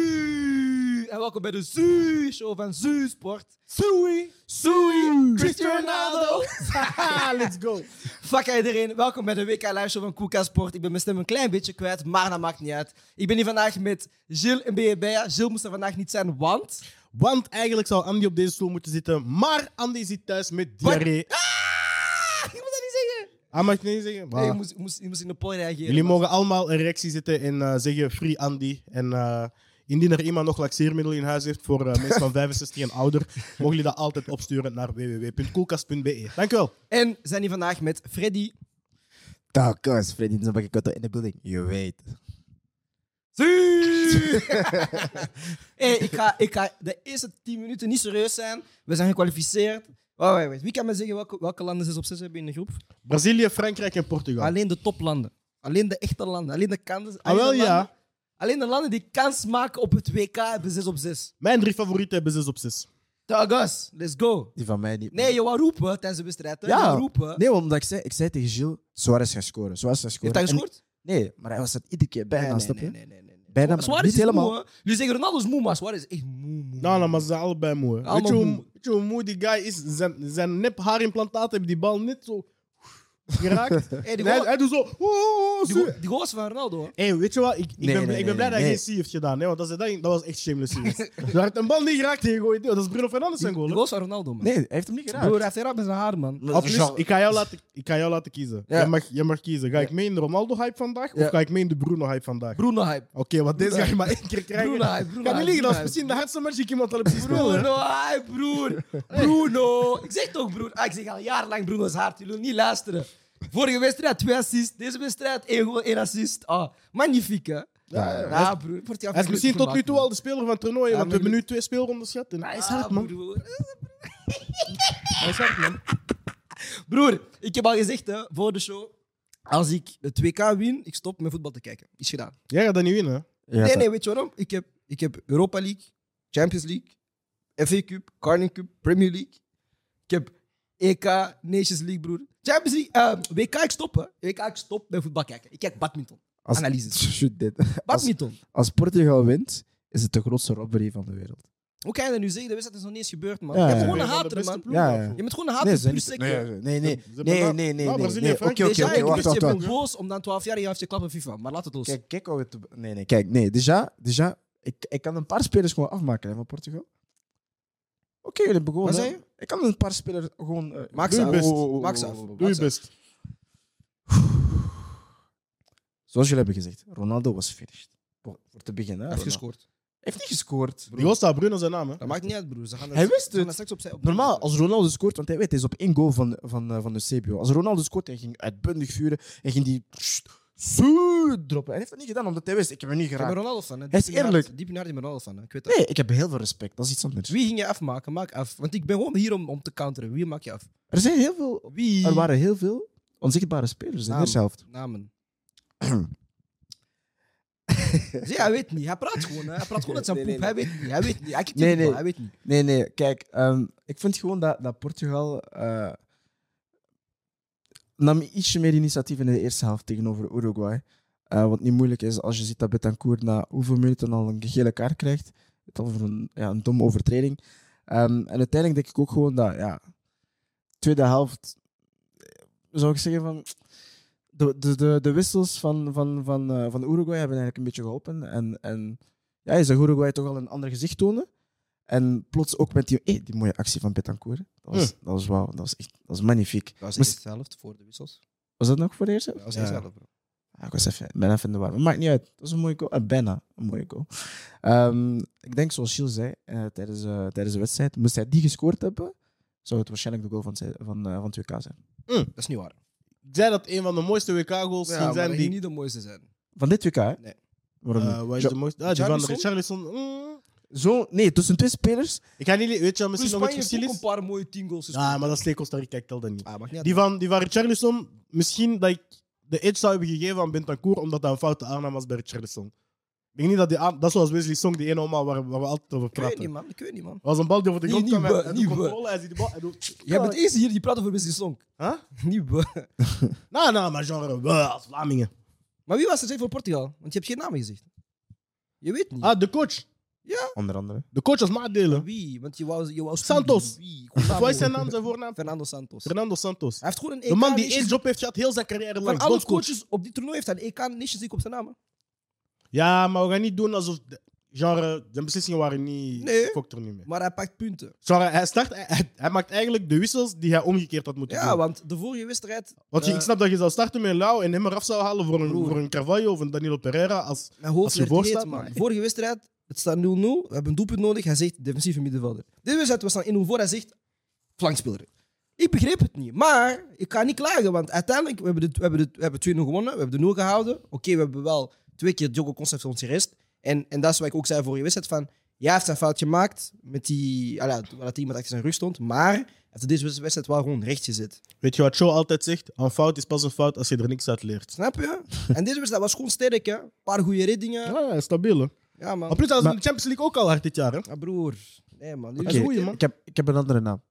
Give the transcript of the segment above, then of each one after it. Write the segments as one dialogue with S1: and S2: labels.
S1: Zuu! En welkom bij de Zuu-show van Zuu Sport.
S2: Sui!
S1: Zuu!
S2: Cristiano Ronaldo! Haha, Let's go!
S1: Fuck iedereen, welkom bij de WK Live Show van Koeka Sport. Ik ben mijn stem een klein beetje kwijt, maar dat maakt niet uit. Ik ben hier vandaag met Gilles en Beja. Gilles moest er vandaag niet zijn, want...
S2: Want eigenlijk zou Andy op deze stoel moeten zitten, maar Andy zit thuis met diarree.
S1: Ah, ik moet dat niet zeggen! Ah.
S2: Hij mag het niet zeggen.
S1: Nee,
S2: maar
S1: ik, moest, ik moest, ik moest in de poll reageren.
S2: Jullie mogen allemaal een reactie zetten en eh, zeggen free Andy. En eh, indien er iemand nog laxeermiddelen in huis heeft voor eh, mensen van 65 en ouder, mogen jullie dat altijd opsturen naar www.koelkast.be. Dankjewel.
S1: En zijn hier vandaag met Freddy.
S3: Tacos, Freddy Nzambakikoto in de building. Je weet.
S1: Zuu! hey, ik, ga, ik ga de eerste 10 minuten niet serieus zijn. We zijn gekwalificeerd. Wacht, wacht, wacht. Wie kan me zeggen welke, welke landen 6 op 6 hebben in de groep?
S2: Brazilië, Frankrijk en Portugal.
S1: Alleen de toplanden. Alleen de echte landen. Alleen de kansen.
S2: Ah, wel
S1: alleen de
S2: ja.
S1: landen- Alleen de landen die kans maken op het WK hebben 6 op 6.
S2: Mijn drie favorieten hebben 6 op 6.
S1: Dagas, let's go.
S3: Die van mij niet.
S1: Nee, je wou roepen tijdens de wedstrijd. hè? Je wou roepen. Nee.
S3: Nee, omdat ik zei, ik zei tegen Gilles, Suarez gaat scoren. Suarez gaat
S1: Heeft
S3: scoren.
S1: hij gescoord?
S3: En- Ah, nee, maar hij was dat iedere keer bijna, snap je?
S1: nee, nee, nee, nee.
S3: Bijna, maar
S1: Suarez
S3: Ah, niet
S1: is
S3: helemaal.
S1: moe, hè. Jullie zeggen Ronaldo is moe, maar Suarez is echt moe, moe.
S2: Nou, nou, maar ze zijn allebei moe. hè. Weet je,
S1: Allemaal
S2: hoe,
S1: moe.
S2: weet je hoe moe die guy is? Zijn, zijn nep haarimplantaten hebben die bal net zo geraakt.
S1: Hey, die
S2: En hij,
S1: goal-
S2: hij doet zo. "Oh, oh, oh,
S1: die
S2: zo."
S1: goal- die goal is van Ronaldo, hè.
S2: Hey, weet je wat? Ik, ik
S3: Nee,
S2: ben,
S3: nee,
S2: ik ben blij
S3: nee,
S2: dat hij
S3: nee.
S2: geen C heeft gedaan, hè? want als hij dat, ging- dat was echt shameless. C. Hij heeft een bal niet geraakt en gegooid. Dat is Bruno Fernandes zijn
S1: Die
S2: goal.
S1: goal
S2: hè.
S1: is van Ronaldo, man.
S3: Nee, hij heeft hem niet
S1: Broer, hij
S3: geraakt.
S1: heeft geraakt met zijn haar, man.
S3: Maar-
S2: Of dus,
S3: Jean-
S2: ik, ga jou laten, ik ga jou laten kiezen.
S3: Ja.
S2: Jij, mag, jij mag kiezen. Ga ik mee in de Ronaldo-hype vandaag
S3: Ja.
S2: of ga ik mee in de Bruno-hype vandaag?
S1: Bruno-hype.
S2: Oké, want deze ga je maar één keer krijgen.
S1: Bruno-hype,
S2: Kan
S1: Bruno-hype,
S2: niet liggen, dat is
S1: Bruno-hype.
S2: misschien de hardste match die ik iemand al heb zien spelen. hè.
S1: Bruno-hype, broer. Bruno. Ik zeg toch, broer. Ah, ik zeg al jarenlang, Bruno is hard. Jullie willen niet luisteren. Vorige wedstrijd, twee assists. Deze wedstrijd, één goal, één assist. Ah, magnifiek, hè?
S3: Ja, ja.
S1: Ah, broer. ik word hier
S2: Hij is misschien tot nu toe al
S1: afgemaakt,
S2: de speler van het toernooi,
S1: Ja,
S2: want we
S1: maar
S2: hebben
S1: jullie-
S2: nu twee speelrondes gehad. En hij is
S1: man.
S2: hard, man.
S1: Ah, broer.
S2: Hij is hard, man.
S1: Broer, ik heb al gezegd, hè, voor de show. Als ik het WK win, ik stop met voetbal te kijken. Is gedaan.
S2: Jij gaat dat niet winnen. hè?
S3: Ja,
S1: nee,
S3: dat-
S1: nee, weet je waarom? Ik heb, ik heb Europa League, Champions League, FA Cup, Carling Cup, Premier League. Ik heb EK, Nations League, broer. Champions League, eh, WK, ik stop, hè. WK, ik stop bij voetbal kijken. Ik kijk badminton.
S3: Als,
S1: Analyses.
S3: Shoot dit. Als,
S1: Badminton.
S3: als Portugal wint, is het de grootste robbery van de wereld.
S1: Hoe kan je dat nu zeggen? De wedstrijd is nog niet eens gebeurd, man.
S3: Ja,
S1: je
S3: ja.
S1: bent gewoon
S2: Een
S1: een
S2: van de
S1: hater,
S2: beste
S1: man.
S2: ploegen
S3: Ja, ja.
S2: daarvoor.
S1: Je bent gewoon een
S3: Nee,
S1: hater,
S3: ze zijn
S1: puur
S3: niet-
S1: zeker.
S3: Nee, nee, nee. nee,
S2: Ze hebben
S3: nee,
S2: wel-
S3: nee, nee,
S1: Ah,
S2: Nou,
S3: nee,
S2: Brazilië,
S3: nee. Oké,
S2: Frankrijk,
S3: oké,
S1: Déjà,
S3: oké,
S1: Dus ik
S3: wacht,
S1: wist
S3: wacht,
S1: je
S3: wacht.
S1: bent boos omdat 12 jaar je heeft je klappen FIFA. Maar laat het los.
S3: Kijk, kijk, alweer te- nee, nee, kijk, nee. Déjà, déjà ik, ik kan een paar spelers gewoon afmaken hè, van Portugal. Oké, jullie hebben gewoon.
S1: Wat
S3: hè.
S1: zei je?
S3: Ik kan een paar spelers gewoon. eh,
S1: Maak
S2: Doe
S1: ze
S2: je
S1: af.
S2: best.
S1: Maak ze af.
S2: Doe je
S1: Maak ze af.
S2: best.
S3: Zoals jullie hebben gezegd, Ronaldo was finished. Voor, voor te beginnen.
S1: Hij
S3: Hè,
S1: heeft
S3: Ronaldo.
S1: gescoord.
S3: heeft niet gescoord.
S2: Die goal staat Bruno zijn naam, hè?
S1: Dat maakt niet uit, broer. Ze gaan dat-
S3: Hij wist
S1: ze gaan
S3: het.
S1: dat straks opzij- op-
S3: Normaal, als Ronaldo scoort, want hij weet, hij is op één goal van, van, eh, van de CBO. Als Ronaldo scoort, hij ging uitbundig vuren. Hij ging die zo droppen. Hij heeft dat niet gedaan, omdat hij wist, ik heb hem niet
S1: Ik ben
S3: geraakt.
S1: Ronaldo van. Hè.
S3: Hij is
S1: Diep in je hart-
S3: eerlijk.
S1: Diep in je hart, ik ben Ronaldo van. Hè. Ik weet dat.
S3: Nee, ik heb heel veel respect. Dat is iets anders.
S1: Wie ging je afmaken? Maak af. Want ik ben gewoon hier om, om te counteren. Wie maak je af?
S3: Er zijn heel veel
S1: Wie?
S3: Er waren heel veel onzichtbare spelers in de
S1: Namen.
S3: eerste helft.
S1: Namen. Zie, Dus hij weet niet. Hij praat gewoon. Hè. Hij praat gewoon uit zijn
S3: Nee,
S1: poep.
S3: nee,
S1: Hij weet niet. Hij weet niet. Hij kijkt
S3: Nee,
S1: niet
S3: nee.
S1: naar, Hij weet niet.
S3: Nee, nee, kijk. ehm, ik vind gewoon dat, dat Portugal eh, nam ietsje meer initiatief in de eerste helft tegenover Uruguay. Eh, wat niet moeilijk is als je ziet dat Betancourt na hoeveel minuten al een gele kaart krijgt. Het al voor een, ja, een domme overtreding. Ehm, en uiteindelijk denk ik ook gewoon dat, ja, tweede helft, eh, zou ik zeggen van. De, de, de, de wissels van, van, van, eh, van Uruguay hebben eigenlijk een beetje geholpen. En, en ja, je zag Uruguay toch al een ander gezicht tonen. En plots ook met die, eh, die mooie actie van Betancourt. hè. Dat
S2: Hm.
S3: was, dat was wauw, dat was echt dat was magnifiek.
S1: Dat was
S3: Moest-
S1: zelf voor de wissels.
S3: Was dat nog voor de eerste?
S1: Dat was
S2: Ja.
S1: zelf, bro.
S3: Ah, ik was even, ik ben even in de war. Maar maakt niet uit. Dat was een mooie goal. Eh, bijna een mooie goal. Ehm, ik denk, zoals Gilles zei eh, tijdens, eh, tijdens de wedstrijd, moest hij die gescoord hebben, zou het waarschijnlijk de goal van, zij- van, eh, van 2K zijn.
S1: Dat is niet waar.
S2: Ik zei dat een van de mooiste WK-goals
S1: Ja,
S2: ging
S1: maar
S2: zijn
S1: dat
S2: die...
S1: ging niet de mooiste zijn.
S3: Van dit 2K, hè?
S1: Nee.
S3: Waarom niet?
S2: eh wat is
S3: Zo-
S2: de mooiste? Ah, die van
S1: Richarlison?
S2: Richarlison. Mm.
S3: Zo, nee, tussen twee spelers.
S2: Ik ga niet... Weet je wat
S1: Toen
S2: misschien nog het
S1: Spanje heeft
S2: verschil
S1: ook een
S2: is?
S1: paar mooie 10 goals gescoord.
S2: Ja, Ah, maar dat is tegen Costa Rica. Ik tel dat niet.
S1: Ah, maakt niet uit.
S2: Die van, die van Richarlison, misschien dat ik de edge zou hebben gegeven aan Bentancur, omdat dat een foute aanname was bij Richarlison. Ik denk niet dat die aan... Dat is zoals Wesley Song, die ene oma waar, waar we altijd over
S1: Ik weet niet,
S2: praten.
S1: man. Ik weet niet, man.
S2: Dat was een bal die over de
S1: Nee,
S2: grond
S1: niet
S2: kwam.
S1: we,
S2: Hij hij doet
S1: niet we.
S2: controle, hij ziet die bal. Hij doet...
S1: Jij bent eerst hier die praat over Wesley Song.
S2: Huh?
S1: Niet be.
S2: Nou, nou, maar genre, we als Vlamingen.
S1: Maar wie was er zeg voor Portugal? Want je hebt geen namen gezegd. Je weet niet.
S2: Ah, de coach.
S3: Onder andere.
S2: De coach als maatdelen.
S1: Wie? Want je wou, je wou
S2: Santos.
S1: Wie? Ik
S2: Of
S1: wou
S2: Wat is zijn naam, zijn voornaam?
S1: Fernando Santos. Hij
S2: Fernando Santos.
S1: heeft gewoon een EK.
S2: De man die
S1: Nations
S2: één job heeft gehad heel zijn carrière
S1: Van
S2: lang.
S1: alle
S2: bondscoach.
S1: coaches op dit toernooi heeft hij een E EK Nations League op zijn naam. hè.
S2: Ja, maar we gaan niet doen alsof... de- Genre, zijn beslissingen waren niet...
S1: Nee.
S2: Fokt er niet mee.
S1: Maar hij pakt punten.
S2: Genre, hij, start, hij, hij- hij maakt eigenlijk de wissels die hij omgekeerd had moeten
S1: Ja,
S2: doen.
S1: want de vorige wedstrijd...
S2: Want je-
S1: eh,
S2: ik snap dat je zou starten met Lau en hem eraf zou halen voor een,
S1: Broer.
S2: voor een Carvalho of een Danilo Pereira. Als,
S1: Mijn hoofd
S2: Als je
S1: werd
S2: voor
S1: heet,
S2: staat,
S1: man.
S2: maar-
S1: Vorige wedstrijd, het staat 0-0. We hebben een doelpunt nodig. Hij zegt defensieve middenvelder. Dit wedstrijd was dan 1-0 voor. Hij zegt flankspeler. Ik begreep het niet. Maar ik ga niet klagen. Want uiteindelijk, we hebben, de, we hebben, de, we hebben 2-0 gewonnen. We hebben de 0 gehouden. Oké, we hebben wel twee keer Diogo Concept ons gerest. En, en dat is wat ik ook zei vorige wedstrijd. Van, ja, hij heeft zijn fout gemaakt. Met die, ah ja, dat er iemand achter zijn rug stond. Maar hij heeft deze wedstrijd wel gewoon recht gezet.
S2: weet je wat Joe altijd zegt? Een fout is pas een fout als je er niks uit leert.
S1: Snap je? en deze wedstrijd was gewoon sterk. Hè? Een paar goede reddingen.
S2: Ja, ja, stabiel. hè.
S1: Ja,
S2: Maar
S1: man.
S2: plus, hij was
S3: Maar-
S2: in de Champions League ook al hard dit jaar. Hè?
S1: Ja, broer. Nee, man.
S2: Dat
S1: Dit
S2: is
S1: is
S2: een goeie, man.
S3: Ik heb, ik heb een andere naam.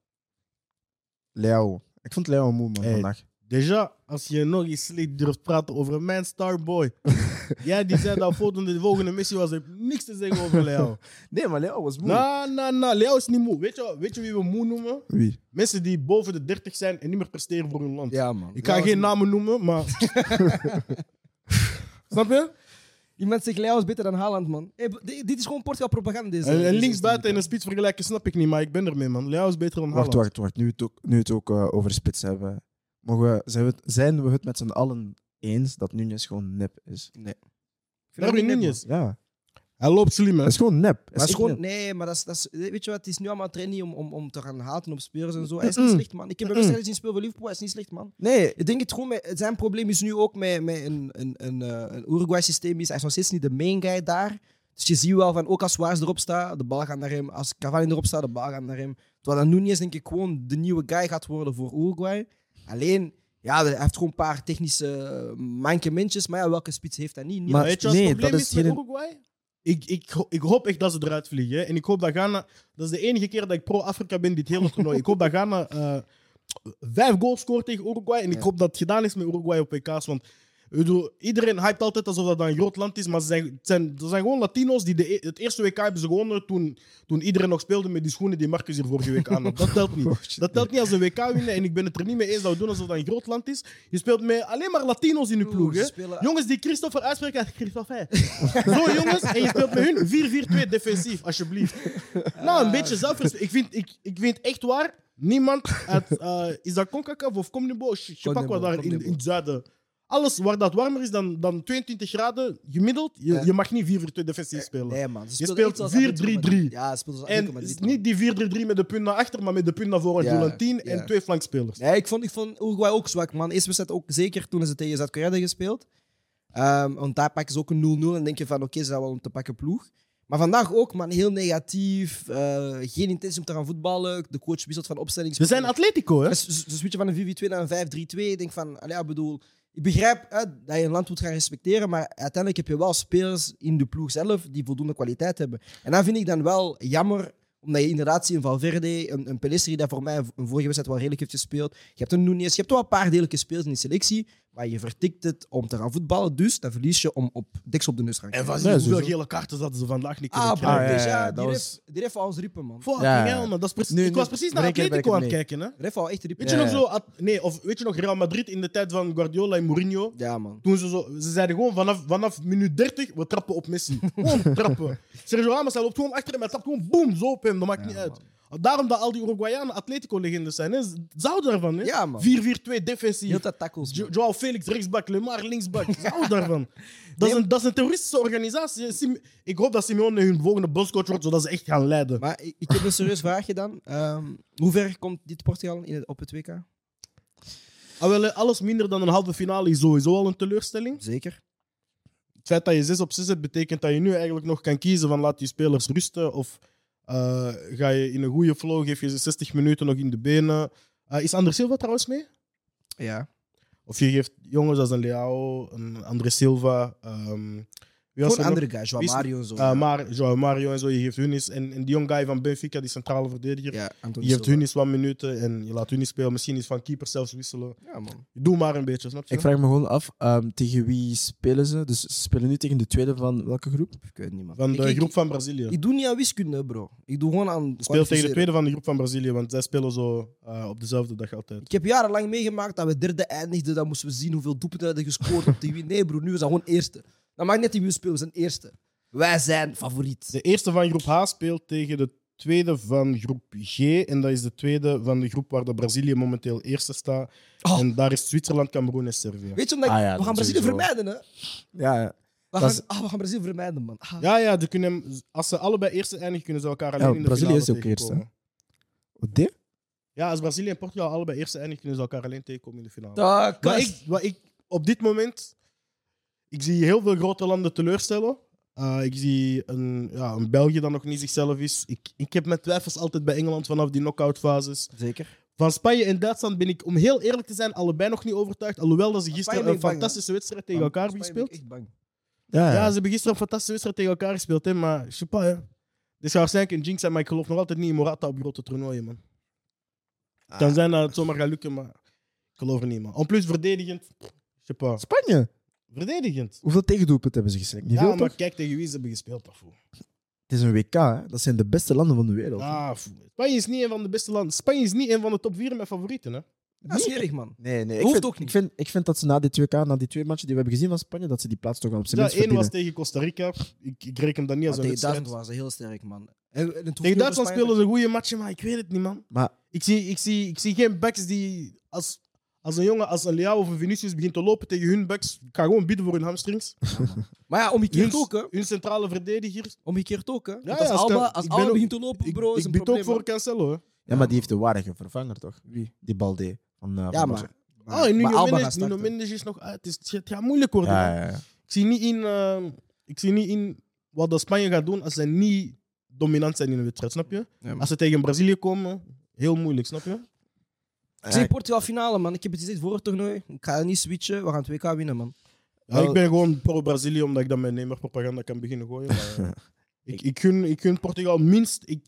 S3: Leo. Ik vond Leo moe, man,
S2: Hey.
S3: vandaag.
S2: Déjà, als je nog eens slecht durft praten over mijn starboy. Jij die zei dat volgende, de volgende missie was, heb niks te zeggen over Leo.
S3: Nee, maar Leo was moe.
S2: Na, na, na, Leo is niet moe. Weet je, weet je wie we moe noemen?
S3: Wie?
S2: Mensen die boven de 30 zijn en niet meer presteren voor hun land.
S1: Ja, man.
S2: Ik kan
S1: Leo-
S2: geen namen noemen, maar. Snap je?
S1: Iemand zegt Leo is beter dan Haaland, man. Hey, b- di- dit is gewoon Portugal propaganda. Deze,
S2: En, en
S1: deze
S2: linksbuiten en een
S1: Eastern
S2: spits vergelijken snap ik niet, maar ik ben ermee, man. Leo is beter dan
S3: Wacht,
S2: Haaland.
S3: wacht, wacht. Nu we het ook, nu we het ook eh, over spits hebben. Mogen we, zijn, we het, zijn we het met z'n allen eens dat Nunes gewoon nep is?
S1: League. Ik vind dat
S2: Darwin
S1: niet net,
S2: Nunez.
S3: Ja.
S2: Hij loopt slim, hè?
S3: Dat is gewoon nep. Dat
S1: man. Maar is
S3: echt
S1: gewoon,
S3: nep.
S1: nee, maar dat is, dat is- weet je wat, het is nu allemaal training om, om, om te gaan haten op spelers en zo. Hij is niet
S2: Mm-mm.
S1: slecht, man. Ik heb hem
S2: Mm-mm.
S1: wedstrijd zien spelen voor Liverpool, hij is niet slecht, man.
S3: Nee,
S1: Ik denk het gewoon, met, zijn probleem is nu ook met, met een, een, een, eh, een Uruguay-systeem. is. Hij is nog steeds niet de main guy daar. Dus je ziet wel van, ook als Suarez erop staat, de bal gaat naar hem. Als Cavani erop staat, de bal gaat naar hem. Terwijl dan Nunez denk ik gewoon de nieuwe guy gaat worden voor Uruguay. Alleen, ja, hij heeft gewoon een paar technische eh, mankementjes. Maar ja, welke spits heeft hij niet? Niemand.
S3: Maar-
S2: weet je wat het
S3: nee,
S2: probleem
S3: dat
S2: is,
S3: is
S2: met
S3: geen-
S2: Uruguay? Ik, ik, ho- ik hoop echt dat ze eruit vliegen. Hè. En ik hoop dat Ghana... Dat is de enige keer dat ik pro-Afrika ben dit hele toernooi. ik hoop dat Ghana eh, vijf goals scoort tegen Uruguay. En ik
S1: Ja.
S2: hoop dat het gedaan is met Uruguay op WK's. Want ik bedoel, iedereen hypt altijd alsof dat dan een groot land is. Maar ze zijn, het zijn, er zijn gewoon Latino's die de, e- het eerste WK hebben ze gewonnen toen, toen iedereen nog speelde met die schoenen die Marcus hier vorige week aan had. Dat telt niet. Dat telt niet als een WK winnen. En ik ben het er niet mee eens dat we doen alsof dat een groot land is. Je speelt met alleen maar Latino's in je
S1: Broer,
S2: ploeg.
S1: ze
S2: Hè.
S1: spelen-
S2: Jongens die Christopher uitspreken, Christopher. Zo jongens, en je speelt met hun 4-4-2 defensief, alsjeblieft. Nou, een beetje zelfrespect. Ik vind, ik, ik vind echt waar, niemand uit, eh, is dat Concacaf of Comnibo, je je pak wat
S1: Comunibo,
S2: daar in, in
S1: Comunibo.
S2: het zuiden. Alles waar dat warmer is dan, dan 22 graden gemiddeld, je,
S1: Ja.
S2: je mag niet 4-4-2 defensief spelen.
S1: Nee, man. Ze
S2: Je
S1: speelden
S2: speelt
S1: echt zoals Atletico
S2: 4-3-3.
S1: Madrid. Ja, ze speelt als
S2: En
S1: Atletico
S2: het
S1: Madrid,
S2: is
S1: man.
S2: niet die 4-3-3 met de punt naar achter, maar met de punt naar voren.
S1: Ja,
S2: doel aan 10
S1: ja.
S2: en twee flankspelers.
S1: Nee, ik vond, ik vond Uruguay ook zwak, man. Eerste wedstrijd ook zeker toen ze tegen Zuid-Korea hadden gespeeld. Ehm, want daar pakken ze ook een 0-0 en denk je van oké, ze zijn wel om te pakken ploeg. Maar vandaag ook, man, heel negatief. eh, geen intentie om te gaan voetballen. De coach wisselt van opstelling.
S2: Ze zijn Atletico, hè?
S1: Dus ze switchen van een 4-4-2 naar een 5-3-2. Ik denk van, allee, ja, bedoel, ik begrijp hè, dat je een land moet gaan respecteren, maar uiteindelijk heb je wel spelers in de ploeg zelf die voldoende kwaliteit hebben. En dat vind ik dan wel jammer, omdat je inderdaad ziet een Valverde, een, een Pelistri, dat voor mij een vorige wedstrijd wel redelijk heeft gespeeld. Je hebt een Nunes, je hebt wel een paar degelijke spelers in die selectie, maar je vertikt het om te gaan voetballen, dus dan verlies je om op deks op de neus te gaan
S2: En
S1: krijgen.
S2: van
S3: Nee,
S2: hoeveel
S3: sowieso.
S2: gele kaarten zaten ze vandaag niet kunnen
S1: Ah, bro,
S2: krijgen.
S3: ja, ja,
S1: dus ja, die
S3: ja,
S1: ref-
S3: dat was-
S1: die ref wou ons riepen, man.
S2: Fucking
S3: Ja.
S2: hell, man. Dat is precies-
S3: Nu-
S2: ik was
S3: nu-
S2: precies naar
S3: Breker ben ik
S2: Atletico aan het
S3: mee.
S2: kijken, hè?
S1: De ref wou echt riepen.
S2: Weet je
S3: Ja,
S2: nog
S3: ja.
S2: zo, At- nee, of weet je nog Real Madrid in de tijd van Guardiola en Mourinho?
S1: Ja, man.
S2: Toen ze zo, ze zeiden gewoon vanaf, vanaf minuut 30, we trappen op Messi. Gewoon trappen. Sergio Ramos, hij "Ah, loopt gewoon achter hem, hij trapt gewoon boom, zo op hem, dat maakt
S1: Ja,
S2: niet
S1: man.
S2: uit. Daarom dat al die Uruguayanen Atletico-legendes zijn, hè? Ze zouden daarvan, hè?
S1: Ja, man.
S2: 4-4-2
S1: Heel
S2: defensief.
S1: dat tackles.
S2: Jo
S1: man.
S2: Joao Felix rechtsbak, Lemar linksbak. Zou daarvan. Dat is,
S1: Nee,
S2: een, dat is een terroristische organisatie. Sim- Ik hoop dat Simeone hun volgende bondscoach wordt, zodat ze echt gaan leiden.
S1: Maar ik, ik heb een serieus vraagje dan. Ehm, hoe ver komt dit Portugal in het, op het WK?
S2: Alhoewel, Ah, Alles minder dan een halve finale is sowieso al een teleurstelling.
S1: Zeker.
S2: Het feit dat je 6 op 6 hebt, betekent dat je nu eigenlijk nog kan kiezen van laat je spelers rusten of eh, ga je in een goede flow, geef je ze 60 minuten nog in de benen. Eh, is André Silva trouwens mee?
S1: Ja.
S2: Of je geeft jongens als een Leao, een André Silva, ehm, Wie was
S1: Gewoon
S2: er nog?
S1: andere guys, Joao
S2: Wie is-
S1: Mario en zo.
S2: Eh, maar Joao Mario en zo, je geeft hun eens. En, en die jong guy van Benfica, die centrale verdediger.
S1: ja, Anthony
S2: Je geeft
S1: Silva.
S2: hun eens wat minuten en je laat hun niet spelen. Misschien eens van keeper zelfs wisselen.
S1: Ja, man.
S2: Doe maar een beetje, snap je?
S3: Ik vraag me gewoon af ehm, tegen wie spelen ze. Dus ze spelen nu tegen de tweede van welke groep?
S1: Ik weet niet, man.
S2: Van
S1: Ik-
S2: de
S1: ik-
S2: groep van Brazilië.
S1: Ik doe niet aan wiskunde, bro. Ik doe gewoon aan.
S2: Speel tegen de
S1: kwalificeren.
S2: tweede van de groep van Brazilië, want zij spelen zo eh, op dezelfde dag altijd.
S1: Ik heb jarenlang meegemaakt dat we derde eindigden. Dan moesten we zien hoeveel doelpunten we hadden gescoord op TV. Nee, bro, nu is dat gewoon eerste. Dat maakt niet uit wie we spelen, we zijn eerste. Wij zijn favoriet.
S2: De eerste van groep H speelt tegen de tweede van groep G. En dat is de tweede van de groep waar de Brazilië momenteel eerste staat.
S1: Oh.
S2: En daar is Zwitserland, Cameroen en Servië.
S1: Weet je, omdat ik-
S3: Ah ja,
S1: we gaan
S3: dat
S1: Brazilië
S3: sowieso.
S1: vermijden, hè?
S3: Ja, ja.
S1: We
S3: Dat
S1: gaan,
S3: is-
S1: ah, we gaan Brazilië vermijden, man. Ah.
S2: Ja, ja, die kunnen, hem- als ze allebei eerste eindigen, kunnen ze elkaar alleen
S3: Ja,
S2: in de
S3: Brazilië
S2: finale
S3: is ook eerste, hè?
S2: tegenkomen.
S3: Wat dit?
S2: Ja, als Brazilië en Portugal allebei eerste eindigen, kunnen ze elkaar alleen tegenkomen in de finale.
S1: Ah,
S2: Wat
S1: kast.
S2: ik, wat ik op dit moment. Ik zie heel veel grote landen teleurstellen. Eh, ik zie een, ja, een België dat nog niet zichzelf is. Ik, ik heb mijn twijfels altijd bij Engeland vanaf die knock-out fases.
S1: Zeker.
S2: Van Spanje en Duitsland ben ik, om heel eerlijk te zijn, allebei nog niet overtuigd. Alhoewel dat ze
S1: Van
S2: gisteren
S1: Spanje
S2: een
S1: ben ik bang,
S2: fantastische wedstrijd tegen elkaar hebben
S1: Spanje ben ik
S2: gespeeld.
S1: echt bang. Ah,
S3: Ja,
S2: Ja,
S3: ja.
S2: ze hebben gisteren een fantastische wedstrijd tegen elkaar gespeeld, hè, maar je sais pas, hè. Dus Dit zou waarschijnlijk een jinx zijn, maar ik geloof nog altijd niet in Morata op grote toernooien, man.
S1: Ah.
S2: Het Kan zijn dat het zomaar gaat lukken, maar ik geloof er niet, man. En plus verdedigend, je sais pas.
S3: Spanje.
S2: Verdedigend.
S3: Hoeveel tegendoelpunten hebben ze geslikt? Niet
S2: Ja,
S3: veel,
S2: maar
S3: toch?
S2: kijk tegen wie ze hebben gespeeld, dat voel.
S3: Het is een WK, hè. Dat zijn de beste landen van de wereld.
S2: Ah, foe. Spanje is niet een van de beste landen. Spanje is niet een van de top vier mijn favorieten, hè.
S1: Ja, smerig, man.
S3: Nee, nee. Ik
S1: Hoeft
S3: vind,
S1: ook niet.
S3: Ik vind, ik vind dat ze na die 2K, na die twee matchen die we hebben gezien van Spanje, dat ze die plaats toch al op zijn
S2: Ja,
S3: minst
S2: één was
S3: verdienen.
S2: tegen Costa Rica. Ik, ik reken dat niet
S1: Maar
S2: als
S1: tegen
S2: een wedstrijd.
S1: Duitsland waren ze heel sterk, man. En, en het hoeft
S2: Tegen
S1: niet
S2: Duitsland
S1: over Spanje te-
S2: spelen ze goede matchen, maar ik weet het niet, man.
S3: Maar
S2: Ik zie, ik zie, ik zie geen backs die als, als een jongen, als een Leao of een Vinicius begint te lopen tegen hun backs, ik ga gewoon bieden voor hun hamstrings.
S1: Maar ja,
S2: Hun,
S1: omgekeerd ook, hè?
S2: hun centrale verdediger.
S1: Omgekeerd ook, hè? Want
S2: Ja,
S1: als
S2: ja, als
S1: Alba,
S2: kan-
S1: als
S2: ik ben
S1: Alba
S2: ook-
S1: begint te lopen,
S2: Ik,
S1: bro, is
S2: ik
S1: een
S2: bied ook
S1: probleem.
S2: voor
S1: man.
S2: Cancelo. Hè.
S3: Ja, maar die heeft de waardige vervanger, toch? Wie? Die Balde. Van, eh,
S1: Ja,
S3: van
S1: maar.
S3: Barca.
S2: ah, en Nuno
S1: Alba
S2: Mendes,
S1: gaat
S2: Nuno
S1: starten.
S2: Mendes is nog uit. dus Het, is, het gaat moeilijk worden.
S3: Ja,
S2: man.
S3: ja, ja.
S2: Ik, zie niet in, eh, ik zie niet in wat dat Spanje gaat doen als ze niet dominant zijn in een wedstrijd, snap je?
S1: Ja, man.
S2: als ze tegen Brazilië komen, heel moeilijk, snap je?
S3: Eh,
S1: Ik zie Portugal finale, man. Ik heb het gezegd voor het toernooi. Ik ga niet switchen. We gaan het WK winnen, man.
S2: Ja, ik ben gewoon pro-Brazilië, omdat ik dan mijn nemerpropaganda kan beginnen gooien. Maar, eh, ik, ik, gun, ik gun Portugal minst... Ik,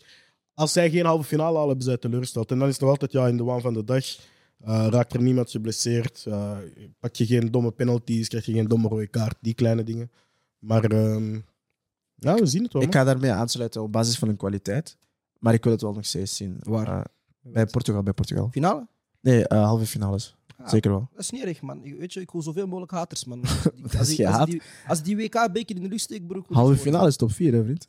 S2: als zij geen halve finale halen, hebben zij teleurgesteld. En dan is het nog altijd, ja, in de waan van de dag eh, raakt er niemand geblesseerd. eh pak je geen domme penalties, krijg je geen domme rode kaart, die kleine dingen. Maar ehm, ja, we zien het wel.
S3: Ik
S2: man.
S3: ga daarmee aansluiten op basis van hun kwaliteit. Maar ik wil het wel nog steeds zien.
S1: Waar?
S3: Eh, bij Portugal, bij Portugal.
S1: Finale?
S3: Nee, eh, halve finales.
S1: Ah.
S3: Zeker wel.
S1: Dat is niet erg, man. Ik- Weet je, ik wil zoveel mogelijk haters, man. Als die-
S3: is
S1: Als die,
S3: geen
S1: als
S3: haat.
S1: die, als die WK-beker in de lucht steekt, bro. ik wil
S3: Halve
S1: niet worden.
S3: finale is top 4, hè, vriend?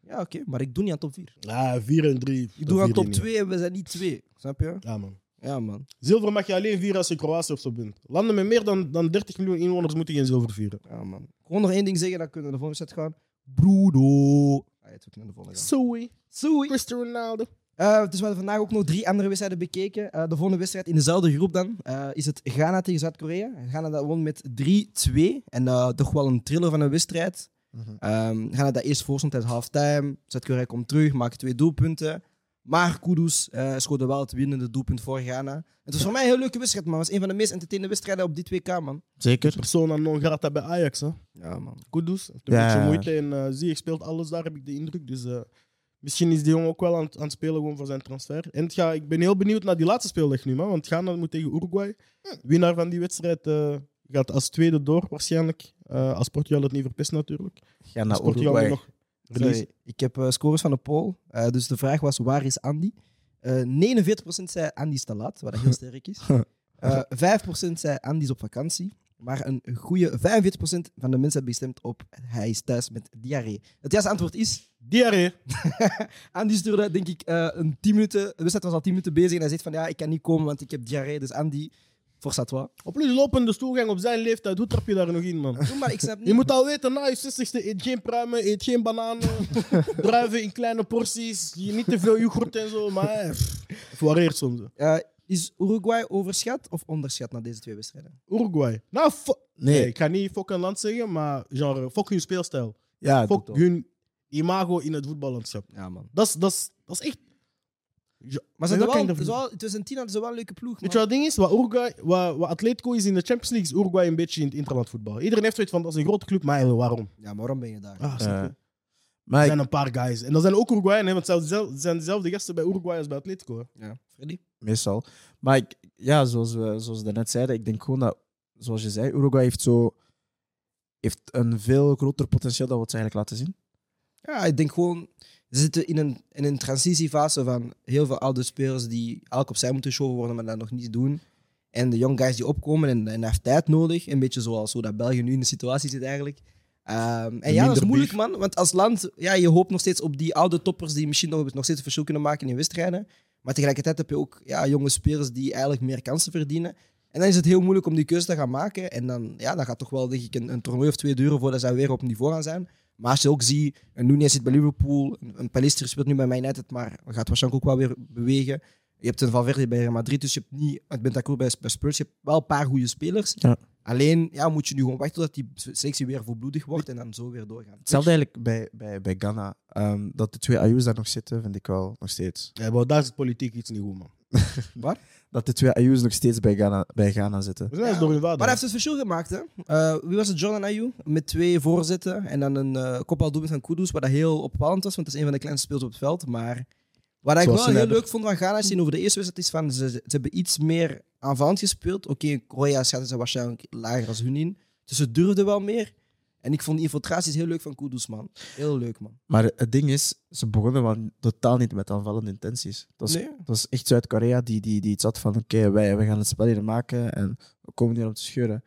S1: Ja, oké, maar ik doe niet aan top 4.
S2: Ja, 4 en 3.
S1: Ik doe aan top 2 en we zijn niet 2. Snap je?
S2: Ja, man.
S1: Ja, man.
S2: Zilver mag je alleen vieren als je Kroatië of zo bent. Landen met meer dan, dan 30 miljoen inwoners moeten geen zilver vieren.
S1: Ja, man. Ik wil nog één ding zeggen, dan kunnen we naar de volgende set gaan. Broedo. Ah, ja, het is ook naar de volgende gaan.
S2: Zoei,
S1: Zoei.
S2: Cristiano Ronaldo.
S1: Eh, dus we hebben vandaag ook nog drie andere wedstrijden bekeken. Eh, de volgende wedstrijd in dezelfde groep dan eh, is het Ghana tegen Zuid-Korea. Ghana dat won met 3-2. En eh, toch wel een thriller van een wedstrijd.
S3: Mhm.
S1: Ehm, Ghana dat eerst voorstond tijdens halftime. Zuid-Korea komt terug, maakt twee doelpunten. Maar Kudus eh schoot wel het winnende doelpunt voor Ghana. Het was voor mij een heel leuke wedstrijd, man. Het was een van de meest entertainende wedstrijden op dit WK, man.
S3: Zeker.
S2: Persona non grata bij Ajax, hè.
S1: Ja, man.
S2: Kudus. Heeft een
S3: Ja.
S2: beetje moeite en eh, zie, ik speelt alles daar, heb ik de indruk. Dus eh, misschien is die jongen ook wel aan, het- aan het spelen gewoon voor zijn transfer. En het ga, ik ben heel benieuwd naar die laatste speeldag nu, man, want Ghana moet tegen Uruguay.
S3: Hm.
S2: Winnaar van die wedstrijd eh, gaat als tweede door waarschijnlijk. Eh, als Portugal het niet verpest natuurlijk.
S3: Ja,
S2: Als
S3: naar
S2: Portugal moet
S3: Uruguay.
S2: nog verliezen.
S1: Sorry, ik heb eh, scores van de poll. Eh, dus de vraag was, waar is Andy? Eh 49% zei Andy is te laat, wat heel sterk is. Eh 5% zei Andy is op vakantie. Maar een goede 45% van de mensen hebben gestemd op hij is thuis met diarree. Het juiste antwoord is...
S2: Diarree.
S1: Andy stuurde, denk ik, eh, een 10 minuten... De wedstrijd was al 10 minuten bezig en hij zegt van ja, ik kan niet komen, want ik heb diarree. Dus Andy, forza toi.
S2: Op plus lopende stoelgang op zijn leeftijd, hoe trap je daar nog in, man?
S1: Doe maar, ik snap niet.
S2: Je moet al weten, na je 60ste eet geen pruimen, eet geen bananen, druiven in kleine porties, je- niet te veel yoghurt en zo, maar eh, pff, het varieert soms. hè.
S1: Eh, is Uruguay overschat of onderschat na deze twee wedstrijden?
S2: Uruguay. Nou, fo-
S3: Nee.
S2: nee. ik ga niet fuck een land zeggen, maar genre, fuck hun speelstijl.
S3: Ja,
S2: Fuck
S3: totaal.
S2: hun imago in het voetballandschap.
S1: Ja, man.
S2: Dat is- dat is dat is echt Ja,
S1: Maar ze
S2: nee,
S1: hadden
S2: dat kan ik
S1: wel,
S2: ervan-
S1: ze wel, 2010 hadden ze wel een leuke ploeg.
S2: Weet je
S1: man.
S2: wat het ding is? Wat, Uruguay, wat, wat Atletico is in de Champions League, is Uruguay een beetje in het interland voetbal. Iedereen heeft zoiets van, dat is een grote club, maar eigenlijk, waarom?
S1: Ja, maar waarom ben je daar?
S2: Ah, snap je?
S3: Eh,
S2: er
S3: maar ik-
S2: zijn een paar guys. En dat zijn ook Uruguayanen, hè, want zelfs- zelf- het zijn dezelfde gasten bij Uruguay als bij Atletico. hè.
S1: Ja, Freddy?
S3: meestal. Maar ik, ja, zoals we zoals we daarnet zeiden, ik denk gewoon dat, zoals je zei, Uruguay heeft, zo, heeft een veel groter potentieel dan wat ze eigenlijk laten zien.
S1: Ja, ik denk gewoon, ze zitten in een, in een transitiefase van heel veel oude spelers die elk opzij moeten showen worden, maar dat nog niet doen. En de young guys die opkomen en, en heeft tijd nodig. Een beetje zoals hoe dat België nu in de situatie zit eigenlijk. Ehm, en ja, dat is
S2: Minder
S1: moeilijk, man. Want als land, ja, je hoopt nog steeds op die oude toppers die misschien nog, nog steeds een verschil kunnen maken in wedstrijden. Maar tegelijkertijd heb je ook ja, jonge spelers die eigenlijk meer kansen verdienen. En dan is het heel moeilijk om die keuze te gaan maken. En dan, ja, dan gaat toch wel denk ik, een, een toernooi of twee duren voordat zij weer op niveau gaan zijn. Maar als je ook ziet, een Nunez zit bij Liverpool, een een Pallister speelt nu bij Man United, maar gaat waarschijnlijk ook wel weer bewegen. Je hebt een Valverde bij Real Madrid, dus je hebt niet, het Bentancur bij bij Spurs, je hebt wel een paar goede spelers.
S3: Ja.
S1: Alleen ja, moet je nu gewoon wachten tot die selectie weer volbloedig wordt en dan zo weer doorgaan.
S3: Hetzelfde eigenlijk bij, bij, bij Ghana. Ehm, dat de twee Ayus daar nog zitten, vind ik wel nog steeds.
S2: Ja, Eh, maar daar is politiek iets niet goed, man.
S3: Dat de twee Ayus nog steeds bij Ghana, bij Ghana zitten.
S2: We zijn eens
S1: Ja,
S2: door hun vader.
S1: Maar hij heeft het verschil gemaakt. Hè? Eh, wie was het? John en Ayu. Met twee voorzetten. En dan een eh kopbaldoelpunt van Kudus. Wat dat heel opvallend was. Want dat is een van de kleinste speels op het veld. Maar wat ik
S2: Zoals
S1: wel
S2: ze
S1: heel
S2: hebben.
S1: leuk vond van Ghana. Zien over de eerste wedstrijd is van ze, ze hebben iets meer aanvallend gespeeld. Oké, Korea schatten ze waarschijnlijk lager als hun in. Dus ze durfden wel meer. En ik vond die infiltraties heel leuk van Kudus, man. Heel leuk, man.
S3: Maar het ding is, ze begonnen wel totaal niet met aanvallende intenties. Het was,
S1: Nee.
S3: het was echt Zuid-Korea die, die, die iets had van: oké, wij, wij gaan het spel hier maken en we komen hier om te scheuren.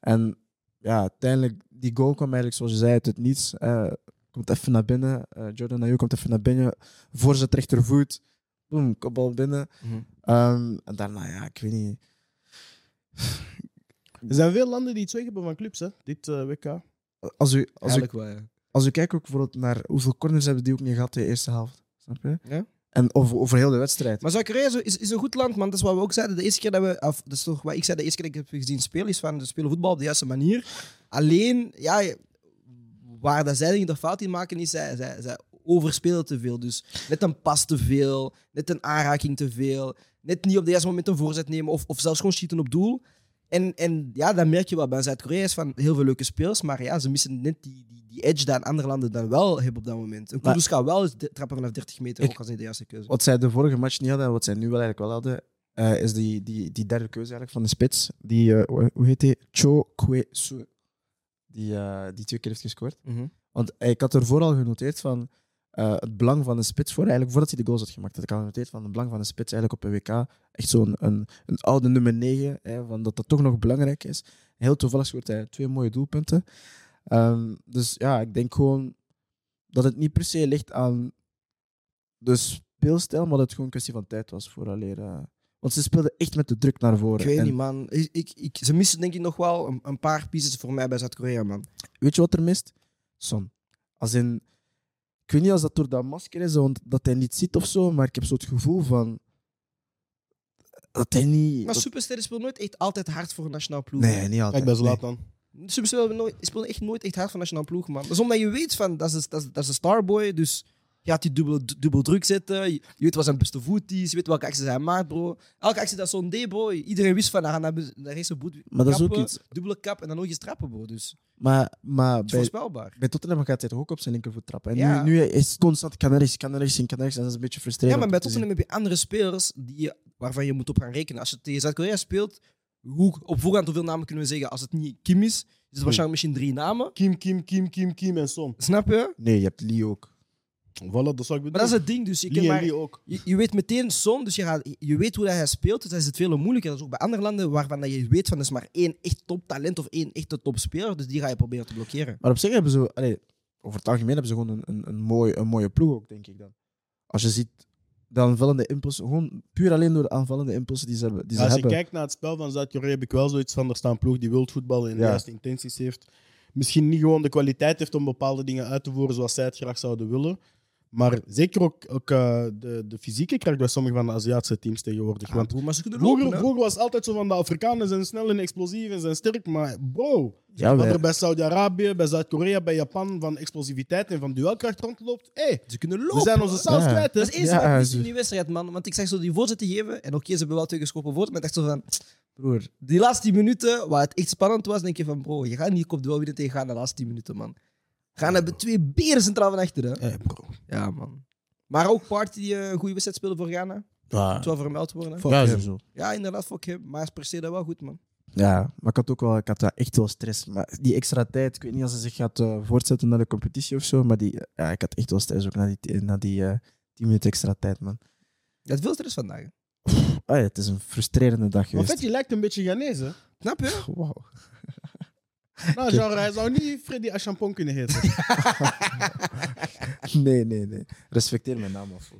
S3: En ja, uiteindelijk, die goal kwam eigenlijk, zoals je zei, uit het niets. Eh, komt even naar binnen. Eh, Jordan Ayew komt even naar binnen. Voorzet rechtervoet. Boom, kopbal binnen.
S1: Mhm.
S3: Ehm, en daarna, ja, ik weet niet.
S2: Er zijn veel landen die iets weg hebben van clubs, hè, dit eh, WK.
S3: Als u, als u
S1: Eigenlijk wel, ja.
S3: als je kijkt ook bijvoorbeeld naar hoeveel corners hebben die ook niet gehad in de eerste helft. Snap je?
S1: Ja.
S3: En over, over heel de wedstrijd.
S1: Maar Zuid-Korea zo- is, is een goed land, man. Dat is wat we ook zeiden. De eerste keer dat we, of, dat is toch wat ik zei, de eerste keer dat ik heb gezien spelen, is van ze spelen voetbal op de juiste manier. Alleen, ja, je- waar dat zij de fout in maken, is zij, zij, zij overspelen te veel. Dus net een pas te veel, net een aanraking te veel, net niet op de juiste moment een voorzet nemen of, of zelfs gewoon schieten op doel. En, en ja, dan merk je wel bij Zuid-Korea is van heel veel leuke speels, maar ja, ze missen net die, die, die edge dan andere landen dan wel hebben op dat moment. Een
S3: Maar-
S1: Kudus gaat wel eens de- trappen vanaf 30 meter,
S3: Ik-
S1: ook als niet de juiste keuze.
S3: Wat zij de vorige match niet hadden en wat zij nu wel eigenlijk wel hadden, eh, is die, die, die derde keuze eigenlijk van de spits. Die, eh, hoe- hoe heet die? Cho Kwe Su. Die, eh, die twee keer heeft gescoord.
S1: Mhm.
S3: Want eh, ik had ervoor al genoteerd van eh, het belang van de spits voor, eigenlijk voordat hij de goals had gemaakt, had ik al genoteerd van het belang van de spits eigenlijk op een WK. Echt zo'n een, een oude nummer 9, hè, van dat dat toch nog belangrijk is. Heel toevallig scoort hij twee mooie doelpunten. Ehm, dus ja, ik denk gewoon dat het niet per se ligt aan de speelstijl, maar dat het gewoon een kwestie van tijd was vooraleer. eh want ze speelden echt met de druk naar voren.
S1: Ik weet
S3: En
S1: niet, man. Ik, ik, ik- ze missen denk ik nog wel een, een paar pieces voor mij bij Zuid-Korea, man.
S3: Weet je wat er mist? Son. Als in, ik weet niet als dat door dat masker is, want dat hij niet ziet of zo, maar ik heb zo het gevoel van. dat hij niet.
S1: Maar
S3: dat-
S1: Supersterren speelt nooit echt altijd hard voor een nationaal ploeg.
S3: nee, niet
S2: Kijk,
S3: altijd.
S2: bij
S3: nee.
S2: Zlatan.
S1: Supersterren speelt nooit- speelt echt nooit echt hard voor een nationaal ploeg, man. Dat is omdat je weet van, dat is, dat is, dat is een starboy, dus je gaat die dubbel, dubbel druk zetten. Je, je weet wat zijn beste voet is, je weet welke acties hij maakt, bro. Elke actie dat is zo'n D, bro. Iedereen wist van, hij gaat naar, be- naar rechts een boet
S3: Maar dat is ook
S1: kappen,
S3: iets-
S1: Dubbele kap en dan nog eens trappen, bro. Dus het
S3: Maar, maar
S1: is
S3: bij,
S1: voorspelbaar.
S3: bij Tottenham gaat hij toch ook op zijn linkervoet trappen. En
S1: Ja.
S3: nu, nu is het constant kan er rechts, kan er rechts, in, kan er rechts. En dat is een beetje
S1: Ja,
S3: frustrerend.
S1: maar
S3: om
S1: bij
S3: te zien.
S1: Tottenham heb je andere spelers die je, waarvan je moet op gaan rekenen. Als je tegen Zuid-Korea speelt, hoe, op voorhand hoeveel namen kunnen we zeggen? Als het niet Kim is, is het waarschijnlijk misschien drie namen.
S2: Kim, Kim, Kim, Kim, Kim en Son.
S1: Snap je?
S3: Nee, je hebt Lee ook.
S2: Voilà, dat zou ik bedoelen.
S1: Maar dat is het ding. Dus je,
S2: Lee
S1: kent
S2: en
S1: maar,
S2: Lee ook.
S1: je, je weet meteen Son, dus je, gaat, je weet hoe dat hij speelt. Dus dat is het veel moeilijker. Dat is ook bij andere landen waarvan dat je weet van er is maar één echt toptalent of één echte topspeler. Dus die ga je proberen te blokkeren.
S3: Maar op zich hebben ze, allee, over het algemeen hebben ze gewoon een, een, een, mooi, een mooie ploeg ook, denk ik dan. Als je ziet de aanvallende impulsen, gewoon puur alleen door de aanvallende impulsen die ze hebben. Die ze
S2: Als je
S3: hebben.
S2: kijkt naar het spel van Zuid-Korea, heb ik wel zoiets van, er staat een ploeg die wilt voetballen en de
S3: Ja.
S2: juiste intenties heeft. Misschien niet gewoon de kwaliteit heeft om bepaalde dingen uit te voeren zoals zij het graag zouden willen. Maar zeker ook, ook eh, de, de fysieke kracht bij sommige van de Aziatische teams tegenwoordig.
S1: Ah,
S2: Want
S1: broer, maar ze kunnen
S2: vroeger,
S1: lopen, hè.
S2: vroeger was het altijd zo van de Afrikanen zijn snel en explosief en zijn sterk. Maar bro,
S3: Ja,
S2: wat
S3: wij-
S2: er bij Saudi-Arabië, bij Zuid-Korea, bij Japan van explosiviteit en van duelkracht rondloopt. Hé, hey,
S1: Ze kunnen
S2: we
S1: lopen.
S2: zijn onze saus
S3: Ja.
S2: kwijt. hè.
S1: Dat is het eerste
S3: Ja, dus-
S1: wat ik wist
S3: ze-
S1: in die wedstrijd, man. Want ik zag zo die voorzetten geven. En oké, ze hebben wel twee geschoppen voor. Maar ik dacht zo van... Broer, die laatste 10 minuten, waar het echt spannend was, denk je van... Bro, je gaat niet op duel winnen tegen Ghana de laatste 10 minuten, man. Gaan hebben twee beren centraal van achter, hè.
S2: Hey, bro.
S1: Ja, man. Maar ook Party die eh, een goede wedstrijd speelde voor Ghana.
S2: Ja.
S1: Het zou vermeld worden.
S2: Fuck
S3: Ja,
S2: hem.
S3: sowieso.
S1: Ja, inderdaad, fuck hem. Maar ze presteerde wel goed, man.
S3: Ja, maar ik had ook wel, ik had wel echt wel stress. Maar die extra tijd, ik weet niet of ze zich gaat eh, voortzetten naar de competitie of zo, maar die, ja, ik had echt wel stress ook na die, na die eh 10 minuten extra tijd, man.
S1: Je had veel stress vandaag. hè.
S3: Ah, ja, het is een frustrerende dag
S2: Maar
S3: geweest.
S2: vet, je lijkt een beetje Ghanese. hè.
S1: Snap je?
S3: Pff, wauw.
S2: Nou, genre, hij zou niet Freddy Achampong kunnen heten.
S3: Nee, nee, nee. Respecteer mijn naam af.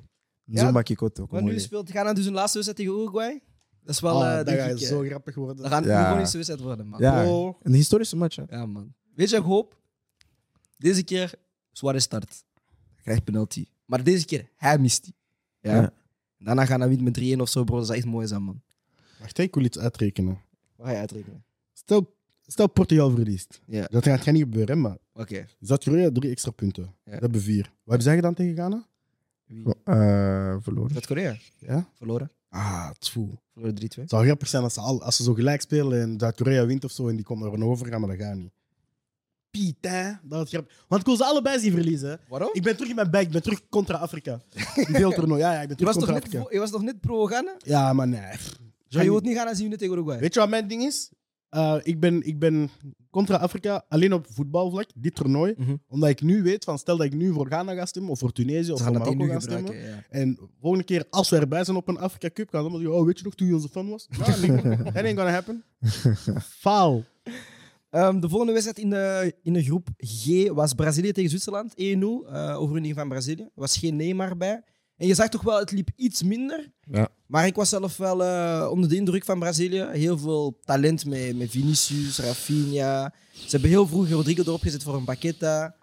S1: Ja,
S3: zo maak ik het ook.
S1: Maar nu
S3: moeilijk.
S1: speelt Ghana dus hun laatste wedstrijd tegen Uruguay. Dat is wel...
S2: Ah,
S1: eh,
S2: dat
S1: denk
S2: gaat
S1: ik, eh,
S2: zo grappig worden.
S1: dat gaat een
S3: Ja.
S1: iconische wedstrijd worden, man.
S3: Ja,
S2: Bro.
S3: een historische match. Hè.
S1: Ja, man. Weet je, ik hoop deze keer Suarez start. Hij Krijgt penalty. Maar deze keer, hij mist die. Ja.
S3: Ja.
S1: Daarna gaan we wint met 3-1 of zo, bro. Dat is echt mooi zijn, man.
S2: Wacht, hè, ik wil iets uitrekenen.
S1: Waar ga je uitrekenen?
S2: Stel, stel Portugal verliest.
S1: Ja.
S2: Dat gaat niet gebeuren, hè, maar
S1: Oké.
S2: Zuid-Korea drie extra punten.
S1: Ja.
S2: Dat hebben vier. Wat hebben zij dan tegen Ghana?
S1: Wie?
S3: Eh, verloren.
S1: Zuid-Korea.
S2: Ja?
S1: Verloren.
S2: Ah, tfoe.
S1: Verloren 3-2.
S2: Het zou grappig zijn als ze, al, als ze zo gelijk spelen en Zuid-Korea wint of zo en die komt er een over gaan, maar dat gaat niet. Piet, hè? Dat is grappig. Want ik wil ze allebei zien verliezen. hè.
S1: Waarom?
S2: Ik ben terug in mijn bag, ik ben terug contra Afrika. Die deeltoernooi, ja, ja, ik ben
S1: Je
S2: terug
S1: was, toch
S2: contra
S1: net,
S2: Afrika.
S1: pro- je was toch net pro-Ghana?
S2: Ja, maar nee. pff.
S1: Zo, je wilt niet Ghana zien tegen Uruguay.
S2: Weet je wat mijn ding is? Eh, ik, ben, ik ben contra Afrika alleen op voetbalvlak, dit toernooi.
S1: Mhm.
S2: Omdat ik nu weet, van, stel dat ik nu voor Ghana ga stemmen of voor Tunesië of
S1: Ze gaan
S2: voor
S1: dat tegen
S2: Marokko
S1: nu
S2: ga
S1: gebruiken.
S2: stemmen.
S1: Ja.
S2: En volgende keer, als we erbij zijn op een Afrika Cup, gaan ze allemaal zeggen, oh, weet je nog toen je onze fan was? Nou, nee, that ain't gonna happen. Faal.
S1: Ehm, de volgende wedstrijd in de, in de groep G was Brazilië tegen Zwitserland. 1-0, eh overwinning van Brazilië. Er was geen Neymar bij. En je zag toch wel, het liep iets minder.
S3: Ja.
S1: Maar ik was zelf wel eh, onder de indruk van Brazilië. Heel veel talent met, met Vinicius, Rafinha. Ze hebben heel vroeg Rodrigo erop gezet voor een Paqueta.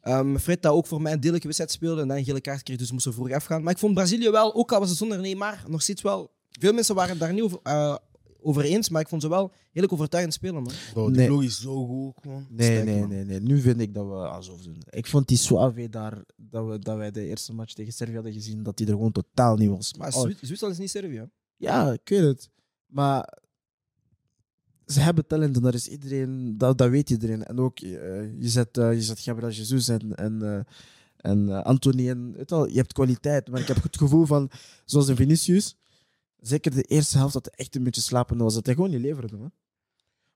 S1: Ehm Fred, dat ook voor mij een deellijke wedstrijd speelde en dan een gele kaart kreeg, dus moest er vroeg afgaan. Maar ik vond Brazilië wel, ook al was het zonder Neymar, nog steeds wel... Veel mensen waren het daar niet over, eh, over eens, maar ik vond ze wel heerlijk overtuigend spelen. Man.
S2: Bro, die
S3: Nee.
S2: ploeg is zo goed, gewoon.
S3: Nee,
S1: Sterk,
S3: nee,
S1: man.
S3: nee, nee. Nu vind ik dat we alsof doen. Ik vond die Suave daar, dat, we, dat wij de eerste match tegen Servië hadden gezien, dat die er gewoon totaal niet was.
S1: Maar
S3: Oh,
S1: Zwi- Zwitserland is niet Servië. hè?
S3: Ja, ik weet het. Maar ze hebben talent en dat is iedereen, dat, dat weet iedereen. En ook, eh, je zet, eh, je zet Gabriel Jesus en, en, eh, en eh, Anthony en weet wel, je hebt kwaliteit. Maar ik heb het gevoel van, zoals in Vinicius, zeker de eerste helft dat hij echt een beetje slapende was, dat hij gewoon niet leverde. Man.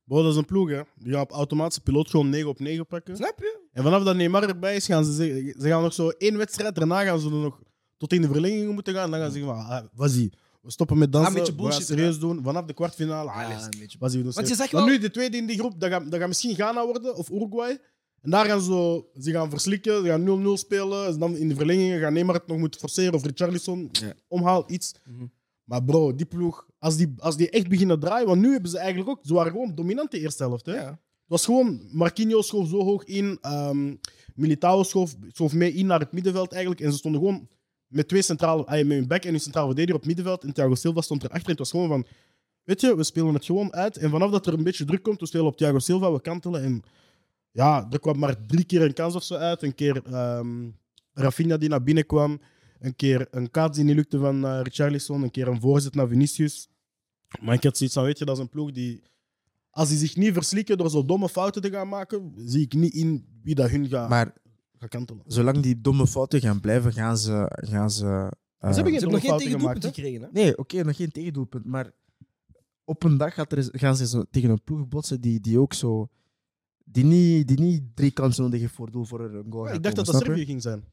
S2: Bro, dat is een ploeg, hè. Die gaan op automatische piloot gewoon 9 op 9 pakken.
S1: Snap je?
S2: En vanaf dat Neymar erbij is, gaan ze, zeggen- ze gaan nog zo één wedstrijd. Daarna gaan ze er nog tot in de verlenging moeten gaan. En dan gaan ze zeggen van, ah, wazie, we stoppen met
S1: Ah, een
S2: dansen.
S1: beetje
S2: we gaan
S1: bullshit,
S2: serieus doen. Vanaf de kwartfinale, ah,
S1: Ja,
S2: alles.
S1: een beetje.
S2: Wazie, we doen
S1: Want je
S2: serieus.
S1: zegt
S2: Dan
S1: wel-
S2: nu de tweede in die groep, dat gaat, dat gaat misschien Ghana worden of Uruguay. En daar gaan ze, zo- ze gaan verslikken, ze gaan 0-0 spelen. En dan in de verlengingen gaan Neymar het nog moeten forceren of Richarlison.
S1: Ja.
S2: Omhaal, iets.
S1: Mhm.
S2: Maar bro, die ploeg, als die, als die echt beginnen draaien... Want nu hebben ze eigenlijk ook... Ze waren gewoon dominant de eerste helft, hè.
S1: Ja.
S2: Het was gewoon, Marquinhos schoof zo hoog in, ehm Militao schoof, schoof mee in naar het middenveld eigenlijk. En ze stonden gewoon met twee centrale, ah, met hun back en hun centrale verdediger op het middenveld. En Thiago Silva stond erachter. En het was gewoon van, weet je, we spelen het gewoon uit. En vanaf dat er een beetje druk komt, we spelen op Thiago Silva, we kantelen. En ja, er kwam maar drie keer een kans of zo uit. Een keer ehm Rafinha die naar binnen kwam. Een keer een kaart die niet lukte van eh, Richarlison. Een keer een voorzet naar Vinicius. Maar ik had zoiets van, weet je, dat is een ploeg die... Als die zich niet verslikken door zo domme fouten te gaan maken, zie ik niet in wie dat hun gaat
S3: Maar
S2: gaat kantelen.
S3: zolang die domme fouten gaan blijven, gaan ze... Gaan ze, eh,
S2: Ze hebben
S1: Ze hebben
S2: geen
S1: nog geen
S2: doelfouten
S1: tegendoelpunt
S2: gemaakt. hè?
S1: gekregen. Hè?
S3: Nee, oké, nog geen tegendoelpunt. Maar op een dag gaat er, eens- gaan ze zo tegen een ploeg botsen die, die ook zo. Die niet, die niet drie kansen nodig heeft voor doel voor er een goal.
S2: Ja,
S3: gaat
S2: ik dacht dat
S3: komen,
S2: dat
S3: snap je?
S2: Servië ging zijn.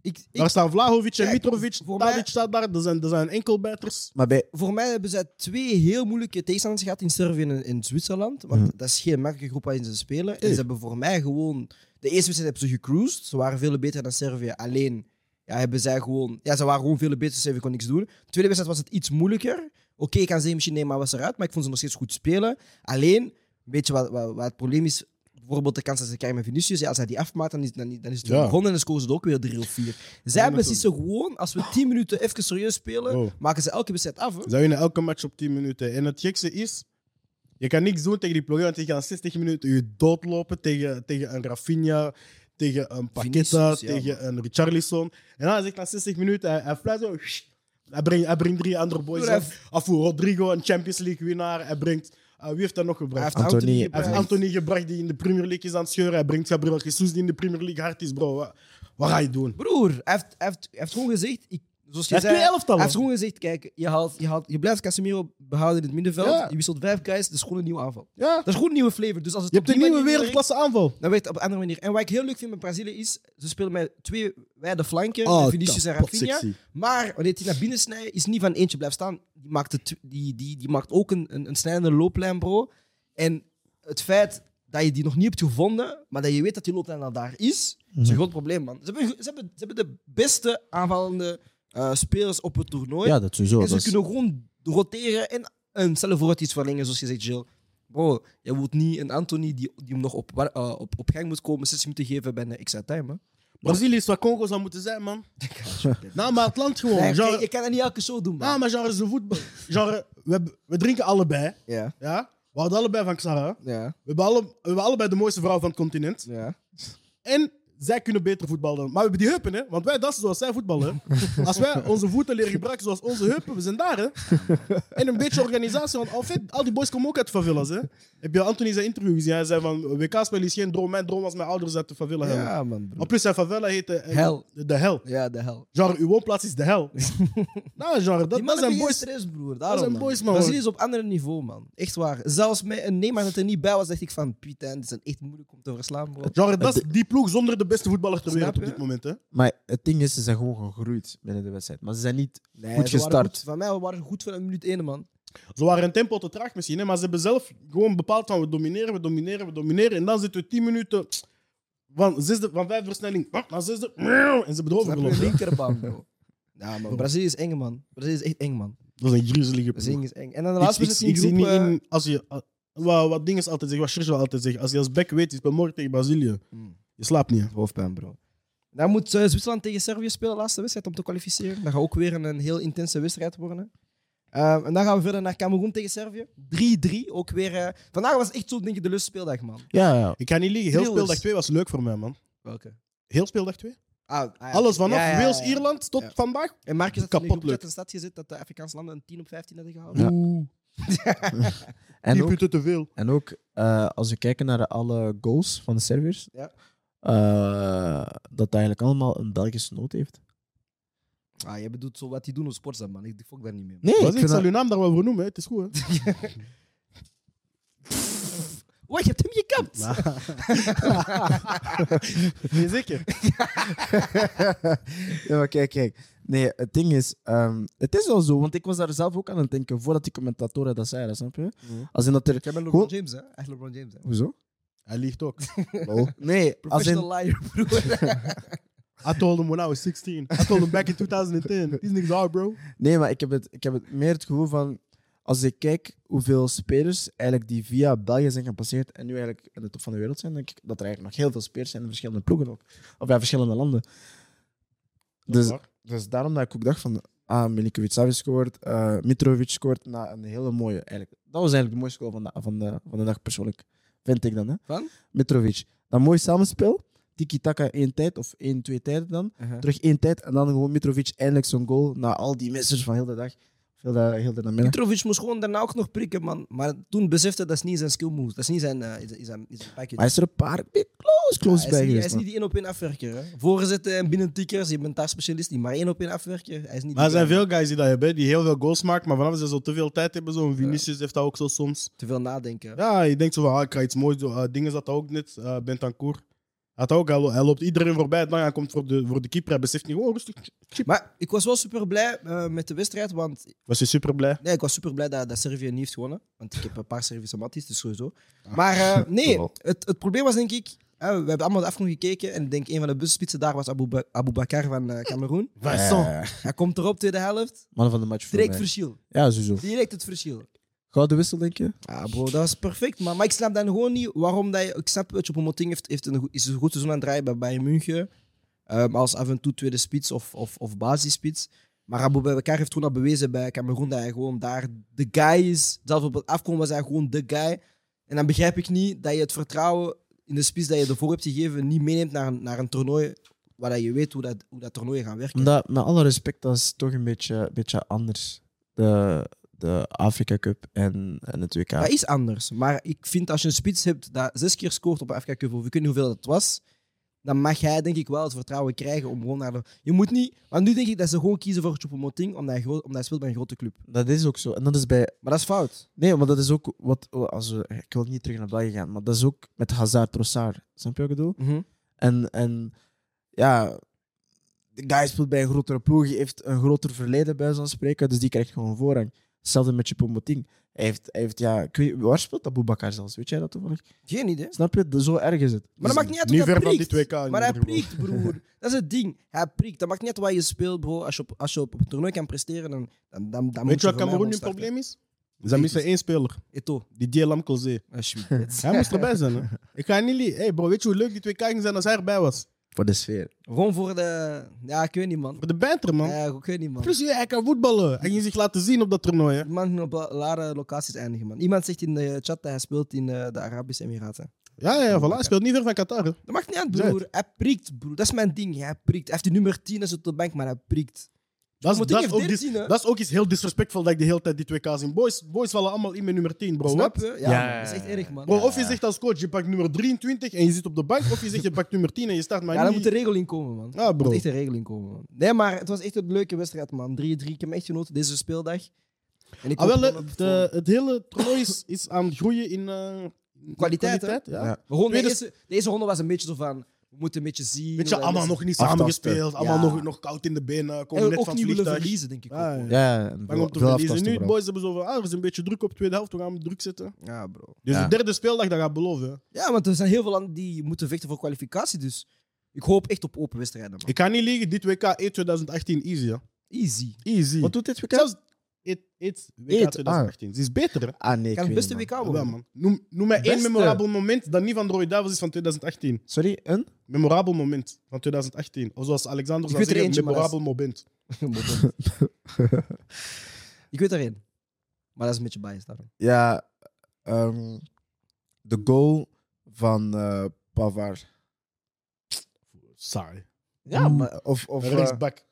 S1: Ik,
S2: Daar
S1: ik,
S2: staan Vlahovic en
S1: Kijk,
S2: Mitrovic.
S1: voor mij-
S2: Tadic staat daar. Er zijn, er zijn enkelbijters.
S3: Maar bij.
S1: voor mij hebben zij twee heel moeilijke tegenstanders gehad in Servië en in Zwitserland. Want
S3: Mhm.
S1: dat is geen makkelijke groep waarin ze spelen. En
S2: Nee.
S1: ze hebben voor mij gewoon... De eerste wedstrijd hebben ze gecruised. Ze waren veel beter dan Servië. Alleen ja, hebben zij gewoon... Ja, ze waren gewoon veel beter. Servië kon niks doen. De tweede wedstrijd was het iets moeilijker. Oké, ik kan zeggen misschien Neymar was eruit. Maar ik vond ze nog steeds goed spelen. Alleen, weet je wat, wat, wat het probleem is? bijvoorbeeld de kans dat ze krijgen met Vinicius, ja, als hij die afmaakt, dan is, dan, dan is het
S2: Ja.
S1: weer begonnen en dan scoren ze er ook weer 3 of 4. Zij
S2: natuurlijk.
S1: gewoon, als we 10 minuten even serieus spelen,
S2: Oh.
S1: maken ze elke wedstrijd af. Hè?
S2: Zij winnen elke match op 10 minuten. En het gekste is, je kan niks doen tegen die ploegen, want die gaan 60 minuten je doodlopen tegen, tegen een Rafinha, tegen een Paqueta,
S1: Vinicius, ja,
S2: tegen een Richarlison. En dan zegt na 60 minuten, hij, hij fluit zo, "Sst." hij brengt, hij brengt drie andere boys
S1: Doe dat
S2: af. Af voor Rodrigo, een Champions League winnaar. Hij brengt, eh, wie heeft dat nog
S1: Hij
S2: gebracht?
S1: heeft
S3: Anthony-
S1: Anthony
S2: Hij
S1: gebracht.
S2: heeft Anthony gebracht die in de Premier League is aan het scheuren. Hij brengt Gabriel Jesus die in de Premier League hard is, bro. Wat, wat ga je doen?
S1: Broer, hij heeft, hij heeft, hij heeft gewoon gezegd... Ik, zoals je
S2: Hij
S1: zei,
S2: heeft twee elftallen.
S1: Hij heeft gewoon gezegd, kijk, je, haalt, je, haalt, je blijft Casemiro behouden in het middenveld.
S2: Ja.
S1: Je wisselt vijf guys, dat is gewoon een nieuwe aanval.
S2: Ja.
S1: Dat is gewoon een nieuwe flavor. Dus als het
S2: Je
S1: op
S2: hebt een
S1: die
S2: nieuwe
S1: manier werkt,
S2: wereldklasse aanval.
S1: Dan werkt het op een andere manier. En wat ik heel leuk vind met Brazilië is, ze spelen met twee wijde flanken,
S2: Oh,
S1: met Vinicius en
S2: dat
S1: Rafinha.
S2: potsexy.
S1: Maar wanneer die naar binnen snijdt, is niet van eentje blijft staan. Die maakt, het, die, die, die maakt ook een, een, een snijdende looplijn, bro. En het feit dat je die nog niet hebt gevonden, maar dat je weet dat die looplijn al daar is,
S2: Mhm.
S1: is een groot probleem, man. Ze hebben, ze hebben, ze hebben de beste aanvallende eh, spelers op het toernooi.
S3: Ja, dat sowieso.
S1: en ze
S3: dat is-
S1: kunnen gewoon roteren en een snelle vooruit iets verlengen, zoals je zegt, Jill. Bro, je wilt niet een Anthony die, die hem nog op, wa- eh, op, op gang moet komen, 60 minuten geven bij een extra time, hè.
S2: Brazilië is wat Congo zou moeten zijn, man. nou, maar het land gewoon.
S1: Nee,
S2: genre,
S1: kijk, je kan dat niet elke show doen, man.
S2: nou, maar genre is de voetbal. Genre, we, hebben- we drinken allebei.
S1: Ja,
S2: Ja? We houden allebei van Xara.
S1: ja,
S2: We hebben, alle, we hebben allebei de mooiste vrouw van het continent.
S1: ja.
S2: En zij kunnen beter voetballen. Maar we hebben die heupen, hè? Want wij dansen zoals zij voetballen. hè. Als wij onze voeten leren gebruiken zoals onze heupen, we zijn daar, hè? En een beetje organisatie, want al, vet- al die boys komen ook uit de favelas, hè? Heb je Anthony zijn interview gezien? Hij zei van, WK-spel is geen droom. Mijn droom was mijn ouders uit de favela hebben.
S1: Ja, man, bro.
S2: Maar plus zijn favela heette... eh,
S1: Hel.
S2: De hel.
S1: Ja, de hel.
S2: Genre, uw woonplaats is de hel. nou, genre,
S1: Die
S2: dat, dat
S1: mannen
S2: zijn
S1: hebben geen
S2: boys.
S1: stress, broer.
S2: Dat
S1: Daarom,
S2: zijn boys, man.
S1: Brazilië is dus op ander niveau, man. Echt waar. Zelfs met een Neymar dat er niet bij was, dacht ik van... Pieter, dit zijn echt moeilijk om te verslaan, bro.
S2: Genre, dat is die ploeg zonder de beste voetballer ter
S1: Snap
S2: wereld op
S1: je?
S2: dit moment, hè?
S3: Maar het ding is, ze zijn gewoon gegroeid binnen de wedstrijd. Maar ze zijn niet
S1: Nee,
S3: goed
S1: ze waren
S3: gestart.
S1: Goed, van mij we waren goed voor een minuut één, man.
S2: Ze waren een tempo te traag misschien, hè, maar ze hebben zelf gewoon bepaald van we domineren, we domineren, we domineren. En dan zitten we 10 minuten van, zesde, van vijf versnelling pap, naar zesde. meeuw, En ze hebben erover
S1: Snap je?
S2: gelopen. hè.
S1: Linkerbaan, bro. Ja, man. Brazilië is eng, man. Brazilië is echt eng, man.
S2: Dat is een griezelige
S1: Brazilië
S2: ploeg.
S1: is eng. En dan de
S2: Ik,
S1: laatste
S2: ik,
S1: wedstrijd
S2: ik zie
S1: in
S2: niet
S1: groep, eh,
S2: in, als je, ah, wat, wat dingen altijd zeggen, wat Sergio altijd zegt, als je als back weet, je speelt morgen tegen Brazilië.
S1: Hmm.
S2: Je slaapt niet. hè.
S1: Hoofdpijn, bro. Dan moet eh, Zwitserland tegen Servië spelen, laatste wedstrijd om te kwalificeren. Dat gaat ook weer een, een heel intense wedstrijd worden. Ehm, en dan gaan we verder naar Cameroen tegen Servië. 3-3, ook weer. eh, vandaag was echt zo, denk ik, de lustspeeldag, man.
S3: Ja, ja.
S2: Ik ga niet liegen, heel
S1: Thrillers.
S2: speeldag 2 was leuk voor mij, man.
S1: Welke?
S2: Heel speeldag 2.
S1: Ah, ah, ja.
S2: Alles vanaf
S1: Ja, ja, ja, ja.
S2: Wales-Ierland tot
S1: Ja.
S2: vandaag.
S1: En Marcus had
S2: Kapot
S1: kapot
S2: leuk.
S1: leuk. een stad gezet dat de Afrikaanse landen een 10 op 15 hadden gehouden.
S3: Ja.
S2: Oeh,
S3: En
S2: 10
S3: ook,
S2: punten te veel.
S3: en ook eh, als we kijken naar alle goals van de Serviërs,
S1: Ja.
S3: eh, dat eigenlijk allemaal een Belgische noot heeft.
S1: Ah, jij bedoelt zo wat die doen op sports, man. Ik fok daar niet mee.
S3: Nee,
S2: Was ik zal uw naam daar wel voor noemen, hè. het is goed. Hè.
S1: Wacht, je hebt hem gekapt!
S2: Nee, zeker.
S3: ja, maar kijk, kijk. Nee, het ding is, ehm, het is wel zo, want ik was daar zelf ook aan het denken voordat die commentatoren dat zeiden, snap je? Als in dat er.
S1: Ik heb LeBron
S3: Gewoon-
S1: James, hè. Echt LeBron James, hè.
S3: Hoezo?
S2: Hij liegt ook.
S3: Nee, als in.
S1: Professional liar, broer.
S2: I told him when I was 16. I told him back in 2010. These niggas are, bro.
S3: Nee, maar ik heb, het, ik heb het meer het gevoel van. Als ik kijk hoeveel spelers eigenlijk die via België zijn gepasseerd en nu eigenlijk in de top van de wereld zijn, denk ik dat er eigenlijk nog heel veel spelers zijn in verschillende ploegen ook. Of ja, verschillende landen. Dus, dus daarom dat ik ook dacht van, ah, Milinkovic Savic scoort, eh, Mitrovic scoort, na een hele mooie eigenlijk. Dat was eigenlijk de mooiste goal van de, van de, van de dag persoonlijk, vind ik dan. Hè?
S1: Van?
S3: Mitrovic. Dat mooi samenspel, tiki-taka één tijd of één, twee tijden dan. Terug één tijd en dan gewoon Mitrovic eindelijk zo'n goal na al die missers van heel de dag. Heel de, heel de namiddag.
S1: Mitrovic moest gewoon daarna ook nog prikken, man. Maar toen besefte dat is niet zijn skill moves. Dat is niet zijn, eh, is, is zijn, is zijn package.
S3: Maar hij is er een paar big close, close
S1: Ja, hij, is
S3: bij
S1: niet, hij is
S3: geweest.
S1: niet die één op één afwerker. Hè? Voorzetten en binnentikkers, je bent daar specialist niet. Maar één op één afwerker, hij is niet
S2: Maar er
S1: die
S2: zijn
S1: guy.
S2: veel guys die dat hebben, die heel veel goals maken, maar vanaf ze zo te veel tijd hebben, zo'n Vinicius heeft dat ook zo soms.
S1: te veel nadenken.
S2: Ja, je denkt zo van, ah, ik ga iets moois doen. Eh, dingen zat dat ook net, eh Bentancourt. Had ook, hij lo- hij loopt iedereen voorbij, dan hij komt voor de, voor de keeper, hij beseft niet, oh, rustig.
S1: Maar ik was wel super blij eh, met de wedstrijd, want
S2: Was je super blij?
S1: nee, ik was super blij dat, dat Servië niet heeft gewonnen. Want ik heb een paar Servische matties, dus sowieso. Maar eh, nee,
S3: Jawel.
S1: het, het probleem was denk ik, eh, we hebben allemaal de afgrond gekeken en ik denk een van de busspitsen daar was Abu, Ba- Abu Bakar van eh, Cameroen.
S2: Vincent.
S1: Hij komt erop, tweede helft,
S3: Eh, man van de match voor
S1: Oh. direct
S3: mij.
S1: verschil.
S3: Ja, sowieso.
S1: Direct het verschil.
S3: Gouden wissel, denk je?
S1: Ja, bro, dat was perfect, man. Maar ik snap dan gewoon niet waarom dat je... Ik snap, weet je, Moting heeft, heeft een, goed- is een goed seizoen aan het draaien bij Bayern München. Ehm, als af en toe tweede spits of, of, of basisspits. Maar Abu Bakar heeft toen al bewezen bij Cameroen dat hij gewoon daar de guy is. Zelfs op het afkomen was hij gewoon de guy. En dan begrijp ik niet dat je het vertrouwen in de spits dat je ervoor hebt gegeven niet meeneemt naar, een- naar een toernooi waar dat je weet hoe dat, hoe dat toernooien gaan werken.
S3: Omdat, met alle respect, dat is toch een beetje, een beetje anders. De, de Afrika Cup en, en het WK.
S1: Dat is anders. Maar ik vind als je een spits hebt dat zes keer scoort op een FK Cup, of ik weet niet hoeveel dat was, dan mag jij denk ik wel het vertrouwen krijgen om gewoon naar de... Je moet niet... Want nu denk ik dat ze gewoon kiezen voor Choupo-Moting omdat, hij gro- omdat hij speelt bij een grote club.
S3: Dat is ook zo. En dat is bij
S1: Maar dat is fout.
S3: Nee, maar dat is ook wat. Als we, ik wil niet terug naar België gaan, maar dat is ook met Hazard Trossard. Snap je wat ik bedoel?
S2: Mhm.
S3: En, en ja, de guy speelt bij een grotere ploeg, die heeft een groter verleden bij zo'n spreken, dus die krijgt gewoon voorrang. Hetzelfde met Choupo-Moting. Hij heeft, hij heeft, ja, ik weet- waar speelt Aboubakar zelfs? Weet jij dat toevallig?
S1: Geen idee.
S3: Snap je? De- Zo erg is het. Dus
S1: Maar dat maakt niet uit
S2: Niet
S1: hoe hij
S2: ver van
S1: prikt.
S2: dit WK. in
S1: Maar hij
S2: ieder geval.
S1: prikt, broer. Dat is het ding. Hij prikt. Dat maakt niet uit waar je speelt, bro. Als je op, als je op een toernooi kan presteren, dan, dan, dan, dan moet
S2: Weet
S1: je
S2: je wat
S1: voor mij
S2: Cameroen nu een
S1: gewoon starten.
S2: probleem is? Ze missen één speler,
S1: Eto,
S2: die DLM Colzee.
S1: alsjeblieft.
S2: Hij moest erbij zijn. Hè. Ik ga niet liegen. Hey bro, weet je hoe leuk die twee kijkers zijn als hij erbij was?
S3: Voor de sfeer.
S1: Gewoon voor de... Ja, ik weet niet, man.
S2: Voor de banter, man.
S1: Ja, ik weet niet, man.
S2: Plus, ja, hij kan voetballen. Hij ging zich laten zien op dat toernooi. Hè.
S1: Die Man moet op la- lare locaties eindigen, man. Iemand zegt in de chat dat hij speelt in eh, de Arabische Emiraten.
S2: Ja, ja, voilà. Hij speelt niet ver van Qatar. Hè.
S1: Dat mag niet uit, broer. Hij prikt, broer. Dat is mijn ding. Hij prikt. Hij heeft die nummer 10 als op de bank, maar hij prikt.
S2: Dat is,
S1: Moet
S2: dat,
S1: ik
S2: is
S1: even
S2: ook dis-
S1: 13, hè?
S2: dat is ook iets heel disrespectvol dat ik de hele tijd die twee K's zie. Boys, boys vallen allemaal in met nummer 10, bro.
S1: Snap
S2: Wat?
S1: je? Ja,
S3: Ja.
S1: man. dat is echt erg, man.
S2: Bro, of je zegt als coach, je pakt nummer 23 en je zit op de bank. Of je zegt, je pakt nummer 10 en je start maar
S1: ja, daar
S2: niet.
S1: moet een regel in komen, man. Er
S2: Ah, bro.
S1: moet echt een regel in komen, man. Nee, maar het was echt een leuke wedstrijd, man. 3-3. Ik heb hem echt genoten deze speeldag. En ik
S2: Ah,
S1: hoop
S2: wel,
S1: gewoon
S2: hè,
S1: dat-
S2: de- het hele toernooi is, is aan het groeien in eh, in
S1: Kwaliteit,
S2: ja.
S3: Ja.
S1: Maar gewoon, de,
S2: Tweede-
S1: eerste, de eerste ronde was een beetje zo van... We moeten een beetje zien...
S2: Weet
S1: hoe
S2: je,
S1: dat
S2: allemaal
S1: mensen-
S2: nog niet
S3: Aftasten.
S2: samengespeeld. Allemaal
S1: Ja.
S2: nog, nog koud in de benen. Komen
S1: En
S2: net
S1: we ook
S2: van
S1: niet willen
S2: het vliegtuig.
S1: verliezen, denk ik.
S2: Ja,
S1: ook, man.
S3: Ja, en
S2: Bang om te
S3: veel
S2: verliezen. Nu,
S3: aftasten,
S2: de
S3: bro.
S2: boys hebben zo van, ah, er is een beetje druk op de tweede helft. We gaan druk zetten.
S1: ja, bro.
S2: Dus
S3: Ja.
S2: de derde speeldag, dat gaat beloven. hè.
S1: Ja, want er zijn heel veel landen die moeten vechten voor kwalificatie. Dus ik hoop echt op open wedstrijden. Man.
S2: Ik ga niet liegen, dit WK E 2018 easy, hè.
S1: Easy.
S2: Easy.
S3: Wat doet dit WK?
S2: Zelfs het het
S3: Eet,
S2: WK 2018. Ze is beter, hè?
S3: Ah, nee. Ik
S1: kan
S3: weet
S1: het beste
S3: niet,
S1: WK
S3: man.
S2: Jawel,
S1: worden.
S2: man. Noem, noem mij één
S3: Beste.
S2: memorabel moment dat niet van de Rode Duivels is van 2018.
S3: Sorry, een?
S2: Memorabel moment van 2018. Of zoals Alexander
S1: Ik
S2: zou
S1: weet er eentje,
S2: zeggen,
S1: maar dat is-
S2: memorabel moment.
S1: Moment. ik weet er één. Maar dat is een beetje biased daarom.
S3: Ja, ehm, de goal van eh Pavard.
S2: Sorry.
S3: Ja, maar, of, of, eh,
S2: Rechtsback.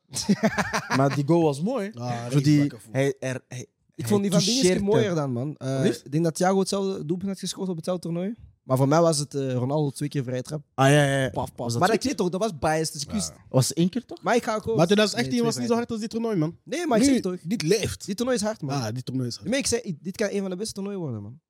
S3: maar die goal was mooi.
S2: Ah,
S3: Zo die,
S2: rechtsback, of-
S3: hij, er, hij,
S1: Ik
S3: hij
S1: vond die van Dingenske
S3: toucheert
S1: mooier
S3: hem.
S1: dan, man. Eh,
S3: Wat is?
S1: ik denk dat Thiago hetzelfde doelpunt had gescoord op hetzelfde toernooi. Maar voor mij was het eh, Ronaldo twee keer vrije trap.
S3: Ah ja, ja. ja.
S1: Paf, paf.
S3: Was dat
S1: maar
S3: twee
S1: ik weet toch, dat was biased. Dus ik wist-
S2: Ja.
S3: Was het één keer toch?
S1: Maar ik ga ook...
S2: Maar 2018
S1: Nee,
S2: was
S1: twee
S2: niet zo
S1: vrije
S2: hard als dit toernooi, man.
S1: trappen. Nee, maar ik
S2: Nu,
S1: zeg toch.
S2: Dit leeft.
S1: Dit toernooi is hard, man.
S2: Ah, dit toernooi is hard.
S1: Nee, ik zeg, dit kan een van de beste toernooien worden, man.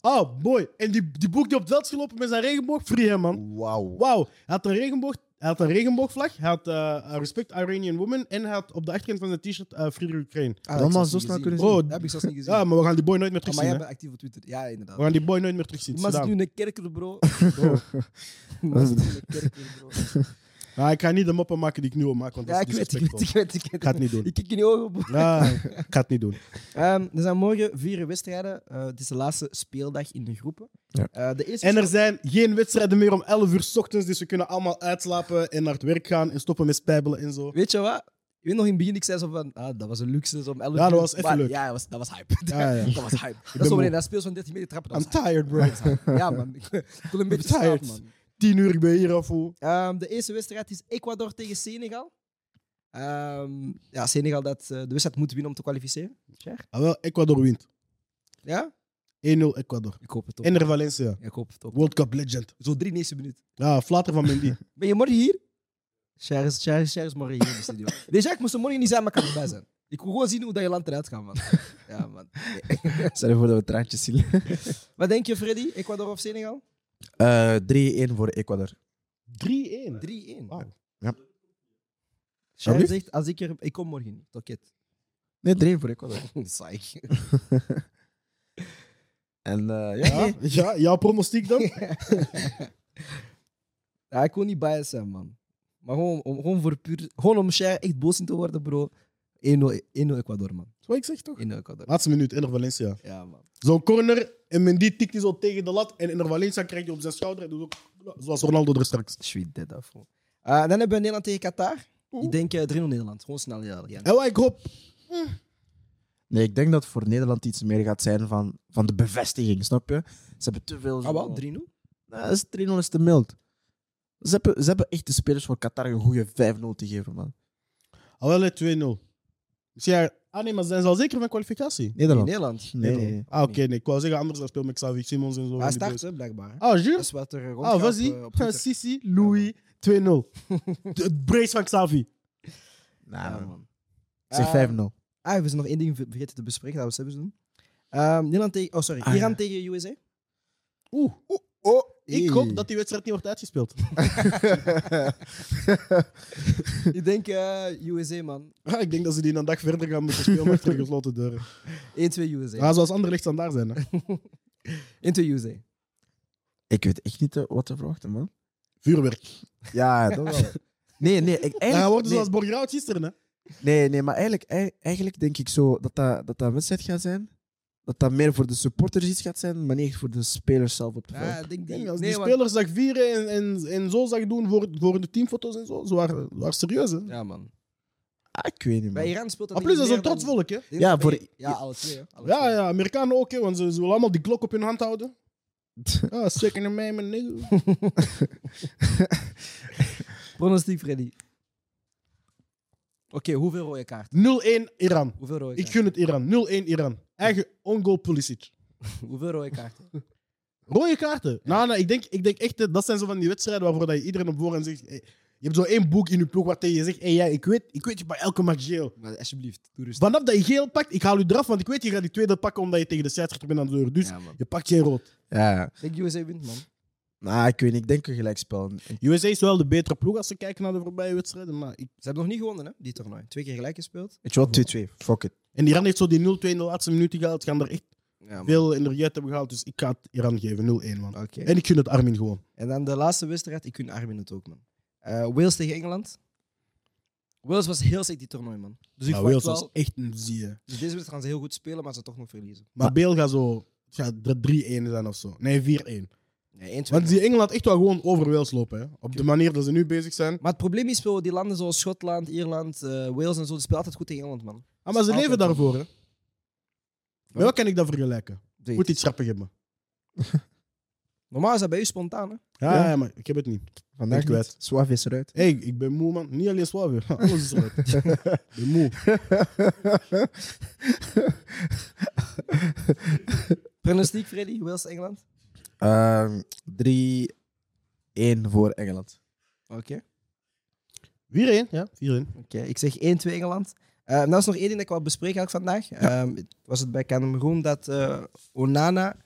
S2: Oh, boy. En die, die boek die op het veld is gelopen met zijn regenboog, free hem, man.
S3: Wauw.
S2: Wauw, hij had een, regenboog, hij had een regenboogvlag, hij had eh, Respect Iranian Woman en hij had op de achterkant van zijn t-shirt eh Free Ukraine.
S1: Ah, dat
S3: Dan
S1: heb ik
S3: maar
S1: zelfs
S3: zo
S1: niet
S3: snel
S1: gezien.
S3: kunnen
S2: zien.
S1: Dat heb ik zelfs niet gezien.
S2: Ja, maar we gaan die boy nooit meer
S1: Ah, maar
S2: terugzien.
S1: jij
S2: hè.
S1: bent actief op Twitter. Ja, inderdaad.
S2: We gaan die boy nooit meer terugzien.
S1: Die man zit
S2: Gedaan.
S1: nu in een kerker, bro. Bro. Die man zit nu in een kerker, bro.
S2: Ah, ik ga niet de moppen maken die ik nu wil maken, want
S1: Ja,
S2: dat
S1: ik
S2: is
S1: weet, ik weet,
S2: disrespectvol.
S1: ik weet. Ik,
S2: Ik ga het
S1: weet.
S2: niet doen.
S1: ik kijk in je ogen, bro.
S2: Ja, ik ga het niet doen.
S1: Ehm, er zijn morgen vier wedstrijden. Eh, het is de laatste speeldag in de groepen.
S3: Ja.
S1: Eh, de eerste
S2: En er zijn geen wedstrijden meer om 11 uur 's ochtends, dus we kunnen allemaal uitslapen en naar het werk gaan en stoppen met spijbelen en zo.
S1: Weet je wat? Ik weet nog in het begin, ik zei zo van, ah, dat was een luxe. Zo om 11
S2: Ja, dat
S1: uur.
S2: was even
S1: Maar
S2: leuk.
S1: Ja, dat was, dat was hype.
S2: Ja, ja.
S1: dat was hype. Dat is
S2: ben
S1: zo
S2: moe.
S1: wanneer dat speelt van 13 meter trappen. Dat
S2: I'm
S1: was hype.
S2: tired, bro.
S1: Ja, man. Ik wil een beetje
S2: tired.
S1: slapen, man.
S2: 10 uur, ik ben hier af. hoe.
S1: Ehm, de eerste wedstrijd is Ecuador tegen Senegal. Ehm, ja, Senegal dat eh, de wedstrijd moet winnen om te kwalificeren.
S2: Ah, wel, Ecuador wint. 1-0
S1: Ja?
S2: Ecuador.
S1: Ik hoop het ook.
S2: Ener Valencia,
S1: Ik hoop het ook.
S2: World Cup legend.
S1: Zo 93 minuten.
S2: Ja, flater van Mendy.
S1: Ben je morgen hier? Charles, Charles, Charles morgen hier in de studio. Deze ik moest er morgen niet zijn, maar ik kan erbij zijn. Ik wil gewoon zien hoe dat je land eruit gaat, man. Ja, man.
S3: Stel je voor dat we traantjes zien.
S1: Wat denk je, Freddy? Ecuador of Senegal?
S3: Eh 3-1 voor Ecuador.
S2: 3-1.
S1: 3-1.
S2: Wauw.
S3: Ja.
S1: Charles
S3: Alsjeblieft.
S1: zegt, als ik er... Ik kom morgen niet. Toket.
S3: Nee, 3-1 voor Ecuador.
S1: Saai.
S3: En eh, ja,
S2: Ja, ja, jouw pronostiek dan?
S1: Ja, ik wil niet biased zijn, man. Maar gewoon, om, gewoon voor puur... Gewoon om Cher echt boos in te worden, bro. 1-0 1-0 Ecuador, man.
S2: is wat ik zeg toch?
S1: 1-0 Ecuador.
S2: Laatste minuut, Inner Valencia.
S1: Ja, man.
S2: Zo'n corner en Mendy tikt die zo tegen de lat. En Inner Valencia krijgt die op zijn schouder. En doet ook, zoals Ronaldo er straks.
S1: Sweet dead af. man. Eh, dan hebben we Nederland tegen Qatar. Ik denk eh, 3-0 Nederland. Gewoon snel, ja. ja.
S2: En wat ik hoop.
S3: Nee, ik denk dat voor Nederland iets meer gaat zijn van, van de bevestiging, snap je? Ze hebben te veel...
S1: Ah, wel, 3-0?
S3: Nee, is- 3-0 is te mild. Ze hebben, ze hebben echt de spelers voor Qatar een goede 5-0 te geven, man.
S2: Al wel hè, 2-0. Dus ja, ah nee, maar ze zijn ze al zeker van kwalificatie?
S1: In
S3: Nederland.
S1: Nederland.
S3: Nee, nee, nee.
S2: Ah, oké, nee. Ik wou zeggen, anders dan speel ik met Xavi Simons en
S1: Hij
S2: zo. van die
S1: start,
S2: boys.
S1: hè, blijkbaar.
S2: Ah,
S1: Dat
S2: Jules?
S1: is wat er eh, rond
S2: Ah, was hij? Sissi, Louis, 2-0. Het brace van Xavi.
S3: Nah,
S2: Ah.
S3: man.
S1: man.
S3: Ik zeg
S1: Eh,
S3: 5-0.
S1: Ah, we zijn nog één ding ver- vergeten te bespreken, dat we zelfs doen. Ehm, Nederland tegen... Oh, sorry.
S3: Ah,
S1: Iran
S3: ja.
S1: tegen USA.
S2: Oeh,
S1: Oh,
S2: ik hoop dat die wedstrijd niet wordt uitgespeeld.
S1: Ik denk eh, USA, man.
S2: Ah, ik denk dat ze die een dag verder gaan moeten spelen achter gesloten deuren.
S1: 1-2 USA.
S2: Ah, zoals Anderlecht standaard zijn. Hè.
S1: 1-2 USA.
S3: Ik weet echt niet eh, wat te verwachten, man.
S2: Vuurwerk.
S3: Ja, toch wel. Nee, nee,
S2: En
S3: ik,
S2: hij
S3: eigenlijk,
S2: wordt
S3: nee,
S2: zoals Borgerhout gisteren. Hè.
S3: nee, nee, maar eigenlijk, ei- eigenlijk denk ik zo dat dat, dat dat een wedstrijd gaat zijn. Dat dat meer voor de supporters iets gaat zijn, maar niet echt voor de spelers zelf op de veld.
S1: Ja, ik denk
S2: Ik denk,
S1: die.
S2: Als
S1: Nee,
S2: die
S1: want-
S2: spelers zag vieren en, en, en zo zag doen voor, voor de teamfoto's en zo, ze waren, ze waren serieus. Hè.
S1: Ja, man.
S3: Ah, ik weet niet,
S1: Bij
S3: man.
S1: Iran speelt dat
S2: Maar plus,
S1: niet
S2: dat is een
S1: meer dan-
S2: trots volk. Hè.
S1: Ik denk
S3: Ja,
S1: dat
S3: voor-
S1: bij- Ja, alle twee. hè. Alle
S2: Ja,
S1: twee.
S2: ja, Amerikanen ook, hè, want ze, ze willen allemaal die klok op hun hand houden. Ah, second in mij, mijn nigga.
S1: Pronostiek, Freddy. Oké, hoeveel rode kaart?
S2: 0-1 Iran.
S1: Hoeveel rode
S2: Ik
S1: kaart?
S2: gun het Iran. 0-1 Iran. Eigen on-goal Pulisic.
S1: Hoeveel rode kaart?
S2: Rode kaarten. Nou, nou, ik, denk, ik denk echt, eh, dat zijn zo van die wedstrijden waarvoor dat je iedereen op voorhand zegt... eh, je hebt zo één boek in je ploeg waar tegen je zegt... Hey, ja, ik weet, ik weet je bij elke match geel.
S1: Maar alsjeblieft, doe rustig.
S2: Vanaf dat je geel pakt, ik haal u eraf, want ik weet je gaat die tweede pakken omdat je tegen de scheidsrechter bent aan de deur. Dus
S1: Ja, man.
S2: je pakt geen rood.
S3: Ja,
S1: Ik denk USA wint, man.
S3: nou, ik weet niet. Ik denk een gelijkspel. Ik-
S2: USA is wel de betere ploeg als ze kijken naar de voorbije wedstrijden. Maar ik...
S1: Ze hebben nog niet gewonnen, hè, die toernooi. Twee keer gelijk gespeeld.
S3: Weet je wat? 2-2. Fuck it.
S2: En Iran heeft zo die 0-2 in de laatste minuut gehaald. Gaan er echt
S1: Ja, man.
S2: veel energie uit hebben gehaald. Dus ik ga het Iran geven. 0-1, man.
S1: Oké.
S2: En ik gun het Armin gewoon.
S1: En dan de laatste wedstrijd, ik kun Armin het ook, man. Eh, Wales tegen Engeland. Wales was heel sick die toernooi, man. Dus ik
S2: Maar
S1: verwacht
S2: Wales was
S1: wel-
S2: echt een zie.
S1: Dus deze wedstrijd gaan ze heel goed spelen, maar ze toch nog verliezen.
S2: Maar Beel gaat zo het gaat er 3-1 zijn of zo. Nee, 4-1.
S1: Nee, 1-2.
S2: Want die Engeland echt wel gewoon over Wales lopen. Hè. Op de manier dat ze nu bezig zijn. Ah,
S1: Maar het probleem is wel, die landen zoals Schotland, Ierland, eh, Wales en zo, die spelen altijd goed tegen Engeland, man.
S2: Ah, maar ze
S1: Altijd
S2: leven
S1: wel.
S2: daarvoor. Hè. Met wat kan ik dat vergelijken?
S1: Weet.
S2: Moet iets grappig hebben.
S1: Normaal is dat bij u spontaan, hè?
S2: Ja,
S3: Ja.
S2: ja, maar ik heb het niet.
S3: Vandaag
S2: Ik weet.
S3: niet. Suave is eruit.
S2: Hé, hey, ik ben moe, man. Niet alleen zwaar weer. Alles is eruit. ik ben moe.
S1: Pronostiek, Freddy, Wales, Engeland.
S3: Ehm, 3-1 voor Engeland.
S1: Oké.
S2: 4-1, ja. 4-1.
S1: Oké, ik zeg 1-2 Engeland. Eh, en dat is nog één ding dat ik wil bespreken ook vandaag. Ehm, het was het bij Cameroen dat eh, Onana...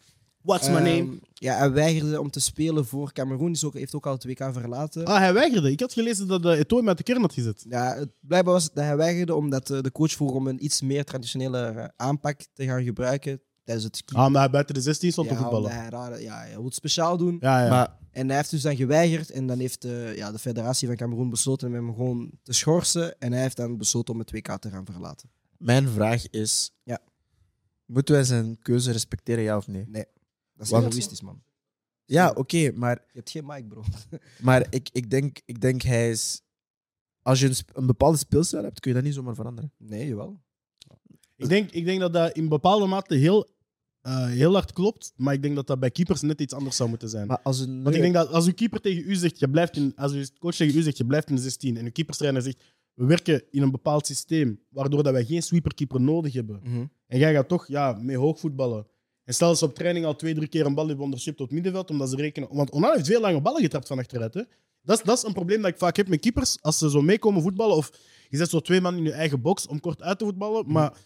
S2: What's
S1: ehm, ja, hij weigerde om te spelen voor Cameroen. Dus ook, heeft ook al het WK verlaten.
S2: Ah, hij weigerde. Ik had gelezen dat uh, Eto'o met de kern had gezet.
S1: Ja, het blijkbaar was dat hij weigerde omdat eh, de coach vroeg om een iets meer traditionele eh, aanpak te gaan gebruiken tijdens het keeper.
S2: Ah, maar hij buiten de 16 stond te
S1: ja, omdat
S2: voetballen.
S1: hij, raar, ja, hij wil het speciaal doen.
S2: Ja, ja.
S3: Maar
S1: En hij heeft dus dan geweigerd. En dan heeft eh, ja, de federatie van Cameroen besloten om hem gewoon te schorsen. En hij heeft dan besloten om het WK te gaan verlaten.
S3: mijn vraag is...
S1: Ja.
S3: Moeten wij zijn keuze respecteren, ja of nee?
S1: Dat is
S3: Want-
S1: egoïstisch, man.
S3: Ja, oké, maar
S1: Je hebt geen mic, bro.
S3: Maar ik, ik, denk, ik denk hij is. Als je een, sp- een bepaalde speelstijl hebt, kun je dat niet zomaar veranderen.
S1: Nee, jawel.
S2: Ik denk, ik denk dat dat in bepaalde mate heel, eh, heel hard klopt. Maar ik denk dat dat bij keepers net iets anders zou moeten zijn.
S3: Maar als een.
S2: Want ik denk dat als uw keeper tegen u zegt, je blijft in, als uw coach tegen u zegt, je blijft in de 16. En uw keeperstrainer zegt, we werken in een bepaald systeem. Waardoor dat wij geen sweeperkeeper nodig hebben.
S3: Mhm.
S2: En jij gaat toch ja, mee hoog voetballen. En stel dat ze op training al twee, drie keer een bal hebben onderschept op het middenveld, omdat ze rekenen... Want Onana heeft veel lange ballen getrapt van achteruit. Hè? Dat, is, dat is een probleem dat ik vaak heb met keepers. Als ze zo meekomen voetballen, of je zet zo twee man in je eigen box om kort uit te voetballen, maar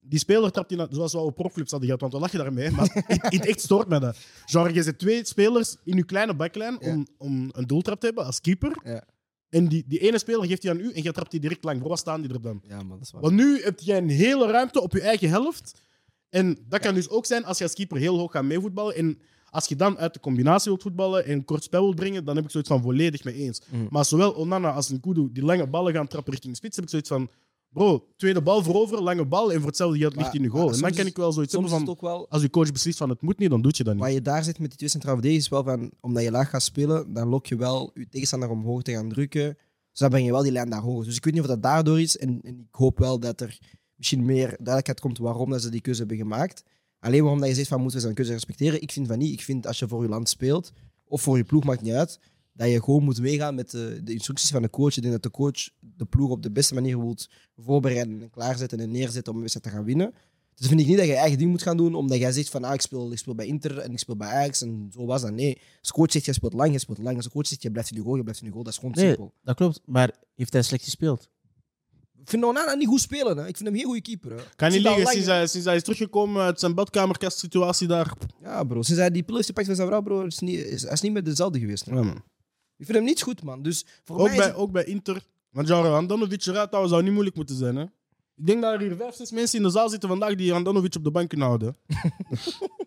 S2: die speler trapt die, na- zoals we op profclubs hadden gehad, want dan lach je daarmee. Maar het, het echt stoort me dat. Genre, je zet twee spelers in je kleine backlijn om, om een doeltrap te hebben als keeper.
S1: Ja.
S2: En die, die ene speler geeft die aan u en je trapt die direct lang. Voor wat staan die er dan?
S1: Ja, man, dat is waar.
S2: Want nu heb jij een hele ruimte op je eigen helft. En dat kan dus ook zijn als je als keeper heel hoog gaat meevoetballen. En als je dan uit de combinatie wilt voetballen en een kort spel wilt brengen, dan heb ik zoiets van volledig mee eens.
S1: Mhm.
S2: Maar zowel Onana als Nkudu die lange ballen gaan trappen richting de spits, heb ik zoiets van Bro, tweede bal voorover, lange bal en voor hetzelfde geld ligt
S1: Maar-
S2: hij in de goal.
S1: maar
S2: En dan
S1: soms
S2: kan
S1: is-
S2: ik wel zoiets
S1: Soms
S2: hebben
S1: is het
S2: van...
S1: ook wel...
S2: Als je coach beslist van het moet niet, dan doet je dat niet.
S1: Waar je daar zit met die twee centrale verdedigers is wel van... Omdat je laag gaat spelen, dan lok je wel je tegenstander omhoog te gaan drukken. Dus dan breng je wel die lijn naar hoger. Dus ik weet niet of dat daardoor is. En, en ik hoop wel dat er misschien meer duidelijkheid komt waarom dat ze die keuze hebben gemaakt. Alleen waarom dat je zegt van moeten we zijn keuze respecteren. Ik vind van niet. Ik vind als je voor je land speelt, of voor je ploeg, maakt niet uit, dat je gewoon moet meegaan met de, de instructies van de coach. Ik denk dat de coach de ploeg op de beste manier wilt voorbereiden en klaarzetten en neerzetten om een wedstrijd te gaan winnen. Dus vind ik niet dat je je eigen ding moet gaan doen, omdat jij zegt van ah, ik, speel, ik speel bij Inter en ik speel bij Ajax en zo was dat. Nee, als de coach zegt je speelt lang, je speelt lang. Als de coach zegt je blijft in je goal, je blijft in je goal. Dat is gewoon
S4: Nee,
S1: simpel.
S4: dat klopt. Maar heeft hij slecht gespeeld?
S1: Ik vind Onana niet goed spelen. Hè. Ik vind hem geen goede keeper. Hè.
S2: Kan
S1: Ik
S2: niet
S1: zie dat
S2: liggen,
S1: lang,
S2: sinds hij, sinds hij is teruggekomen uit zijn badkamerkast-situatie daar.
S1: hè. Ja, bro. Sinds hij die pil heeft gepakt van zijn vrouw, bro, is niet, is, hij is niet meer dezelfde geweest. hè.
S2: Ja, man.
S1: Ik vind hem niet goed, man. Dus voor
S2: Ook,
S1: mij
S2: bij,
S1: is het-
S2: ook bij Inter. Want Jan Handanovic eruit houden zou niet moeilijk moeten zijn. Hè? Ik denk dat er hier vijf, zes mensen in de zaal zitten vandaag die Handanovic op de bank kunnen houden.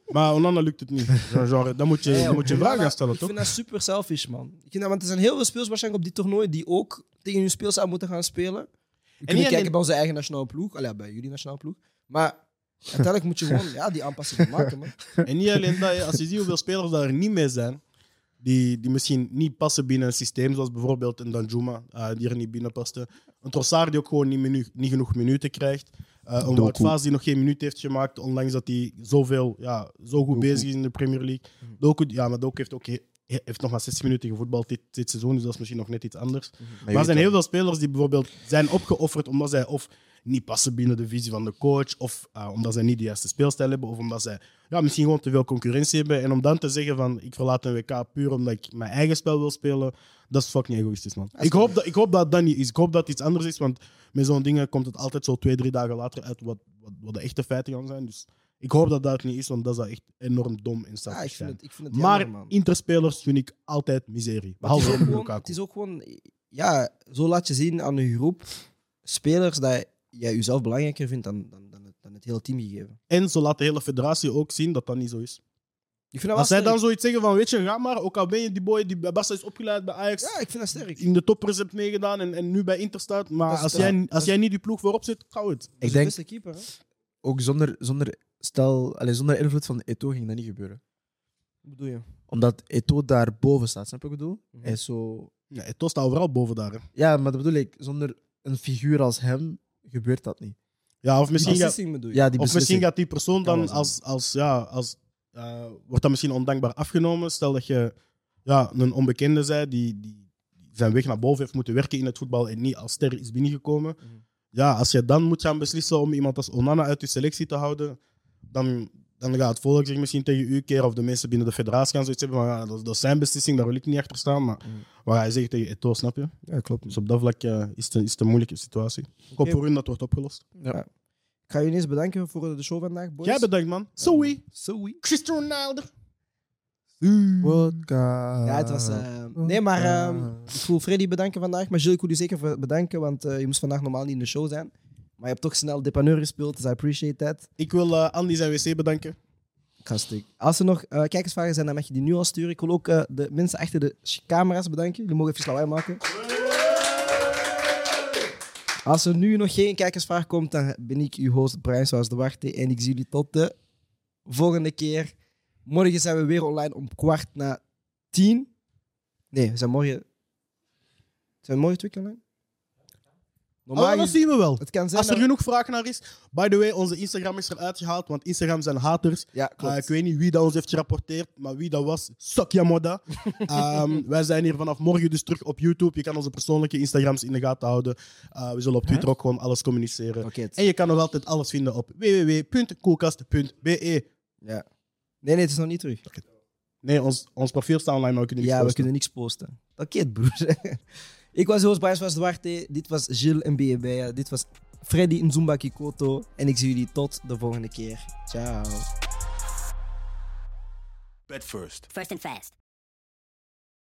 S2: maar Onana lukt het niet. Jean- Jean- dan moet je,
S1: Ja,
S2: dan moet je
S1: Onana,
S2: vragen gaan stellen,
S1: Ik
S2: toch?
S1: vind dat super selfish, man. Ik vind dat, want er zijn heel veel spelers waarschijnlijk op dit toernooi die ook tegen hun speels aan moeten gaan spelen. We
S2: niet
S1: kunnen kijken
S2: alleen-
S1: bij onze eigen nationale ploeg. Allee, bij jullie nationale ploeg. Maar uiteindelijk moet je gewoon ja, die aanpassingen maken, man.
S2: En niet alleen dat, hè, als je ziet hoeveel spelers daar niet mee zijn, die, die misschien niet passen binnen een systeem, zoals bijvoorbeeld een Danjuma, eh, die er niet binnen paste. Een Trossard die ook gewoon niet, menu- niet genoeg minuten krijgt. Eh een
S3: Doku.
S2: Wout Vaas die nog geen minuut heeft gemaakt, ondanks dat hij zoveel, ja, zo goed bezig is in de Premier League. Doku, ja, maar Doku heeft ook he- heeft nog maar 60 minuten gevoetbald dit, dit seizoen, dus dat is misschien nog net iets anders. Maar er zijn heel veel spelers die bijvoorbeeld zijn opgeofferd omdat zij of niet passen binnen de visie van de coach, of eh, omdat zij niet de juiste speelstijl hebben, of omdat zij ja, misschien gewoon te veel concurrentie hebben. En om dan te zeggen van ik verlaat een WK puur omdat ik mijn eigen spel wil spelen, dat is fucking egoïstisch, man. Ik hoop, dat, ik hoop dat dat niet is. Ik hoop dat het iets anders is, want met zo'n dingen komt het altijd zo twee, drie dagen later uit wat, wat, wat de echte feiten gaan zijn. Dus ik hoop dat dat niet is, want dat zou echt enorm dom en
S1: Ja, ik
S2: saai
S1: vind
S2: zijn.
S1: het, ik vind het
S2: Maar
S1: jammer, man.
S2: interspelers vind ik altijd miserie.
S1: Het
S2: Behalve
S1: is, ook
S2: op
S1: gewoon, het
S2: Lukaku.
S1: is ook gewoon, ja, zo laat je zien aan een groep spelers dat jij jezelf belangrijker vindt dan, dan, dan, het, dan het hele team gegeven.
S2: En zo laat de hele federatie ook zien dat dat niet zo is.
S1: Ik vind dat wel
S2: Als zij dan
S1: sterk.
S2: zoiets zeggen van, weet je, ga maar, ook al ben je die boy die bij Barca is opgeleid bij Ajax,
S1: Ja, ik vind dat sterk.
S2: in de toppers hebt meegedaan en, en nu bij Inter staat, maar
S1: Dat is
S2: als
S1: het, ja.
S2: jij,
S1: Dat
S2: als
S1: is-
S2: jij niet die ploeg voorop zit, gauw het.
S1: Dat is de
S3: denk-
S1: beste keeper, hè?
S3: Ook zonder, zonder, stel, allez, zonder invloed van Eto ging dat niet gebeuren.
S1: Wat bedoel je?
S3: Omdat Eto daar boven staat, snap je wat ik bedoel?
S1: Mhm.
S3: Hij is zo...
S2: Ja, Eto'o staat overal boven daar. hè.
S3: Ja, maar dat bedoel ik, zonder een figuur als hem gebeurt dat niet.
S2: Ja, of misschien, gaat,
S1: Beslissing bedoel je?
S3: Ja, die
S2: of misschien
S3: beslissing.
S2: gaat die persoon
S3: Kan wel
S2: dan
S3: zijn.
S2: als, als, ja, als eh, wordt dat misschien ondankbaar afgenomen. Stel dat je ja, een onbekende zij die, die zijn weg naar boven heeft moeten werken in het voetbal en niet als ster is binnengekomen.
S1: Mhm.
S2: Ja, als je dan moet gaan beslissen om iemand als Onana uit je selectie te houden, dan, dan gaat het volk zich misschien tegen u keren of de mensen binnen de federatie gaan zoiets hebben van ja, dat, dat is zijn beslissing, daar wil ik niet achter staan. Maar
S1: Mhm.
S2: wat hij zegt tegen Eto'o, snap je?
S1: Ja, klopt.
S2: Dus op dat vlak eh, is, het, een- is het een moeilijke situatie. Ik hoop
S1: Oké.
S2: voor hun dat wordt opgelost.
S1: Ik ga jullie eens bedanken voor eh, de show vandaag, boys.
S2: Jij bedankt, man. Zoe,
S1: Sorry.
S2: Cristiano Ronaldo.
S3: Wodka.
S1: Ja, het was... eh, nee, maar ehm, ik wil Freddy bedanken vandaag, maar Gilles, ik wil je zeker voor- bedanken, want eh, je moest vandaag normaal niet in de show zijn. Maar je hebt toch snel depaneur gespeeld, dus I appreciate that.
S2: Ik wil eh, Andy zijn wc
S1: Oh,
S2: bedanken.
S1: Gastig. Als er nog eh, kijkersvragen zijn, dan mag je die nu al sturen. Ik wil ook eh, de mensen achter de sh- camera's bedanken. Jullie mogen even lawaai maken. Als er nu nog geen kijkersvraag komt, dan ben ik uw host Brian Zoals de Warte. En ik zie jullie tot de volgende keer. Morgen zijn we weer online om kwart na tien. Nee, we zijn morgen... Zijn we morgen twee keer online? Normaal
S2: Oh, dat
S1: is-
S2: zien we wel.
S1: Het kan zijn
S2: Als er
S1: dat-
S2: genoeg vraag naar is. By the way, onze Instagram is eruit gehaald, want Instagram zijn haters.
S1: Ja, klopt.
S2: Eh, ik weet niet wie dat ons heeft gerapporteerd, maar wie dat was, suck ya moda. Ehm, wij zijn hier vanaf morgen dus terug op YouTube. Je kan onze persoonlijke Instagrams in de gaten houden. Eh, we zullen op Twitter ook gewoon alles communiceren.
S1: Oké, het-
S2: En je kan nog altijd alles vinden op www.koelkast.be.
S1: ja. Nee, nee, het is nog niet terug.
S2: Nee, ons, ons profiel staat online, maar we kunnen niet
S1: Ja, we
S2: posten.
S1: kunnen niks posten. Dat keert, broer. ik was Joost Baars van Zwarte. Dit was Gilles en Beja. Dit was Freddy Nzumba Kikoto. En ik zie jullie tot de volgende keer. Ciao.
S5: Bet first.
S6: First and fast.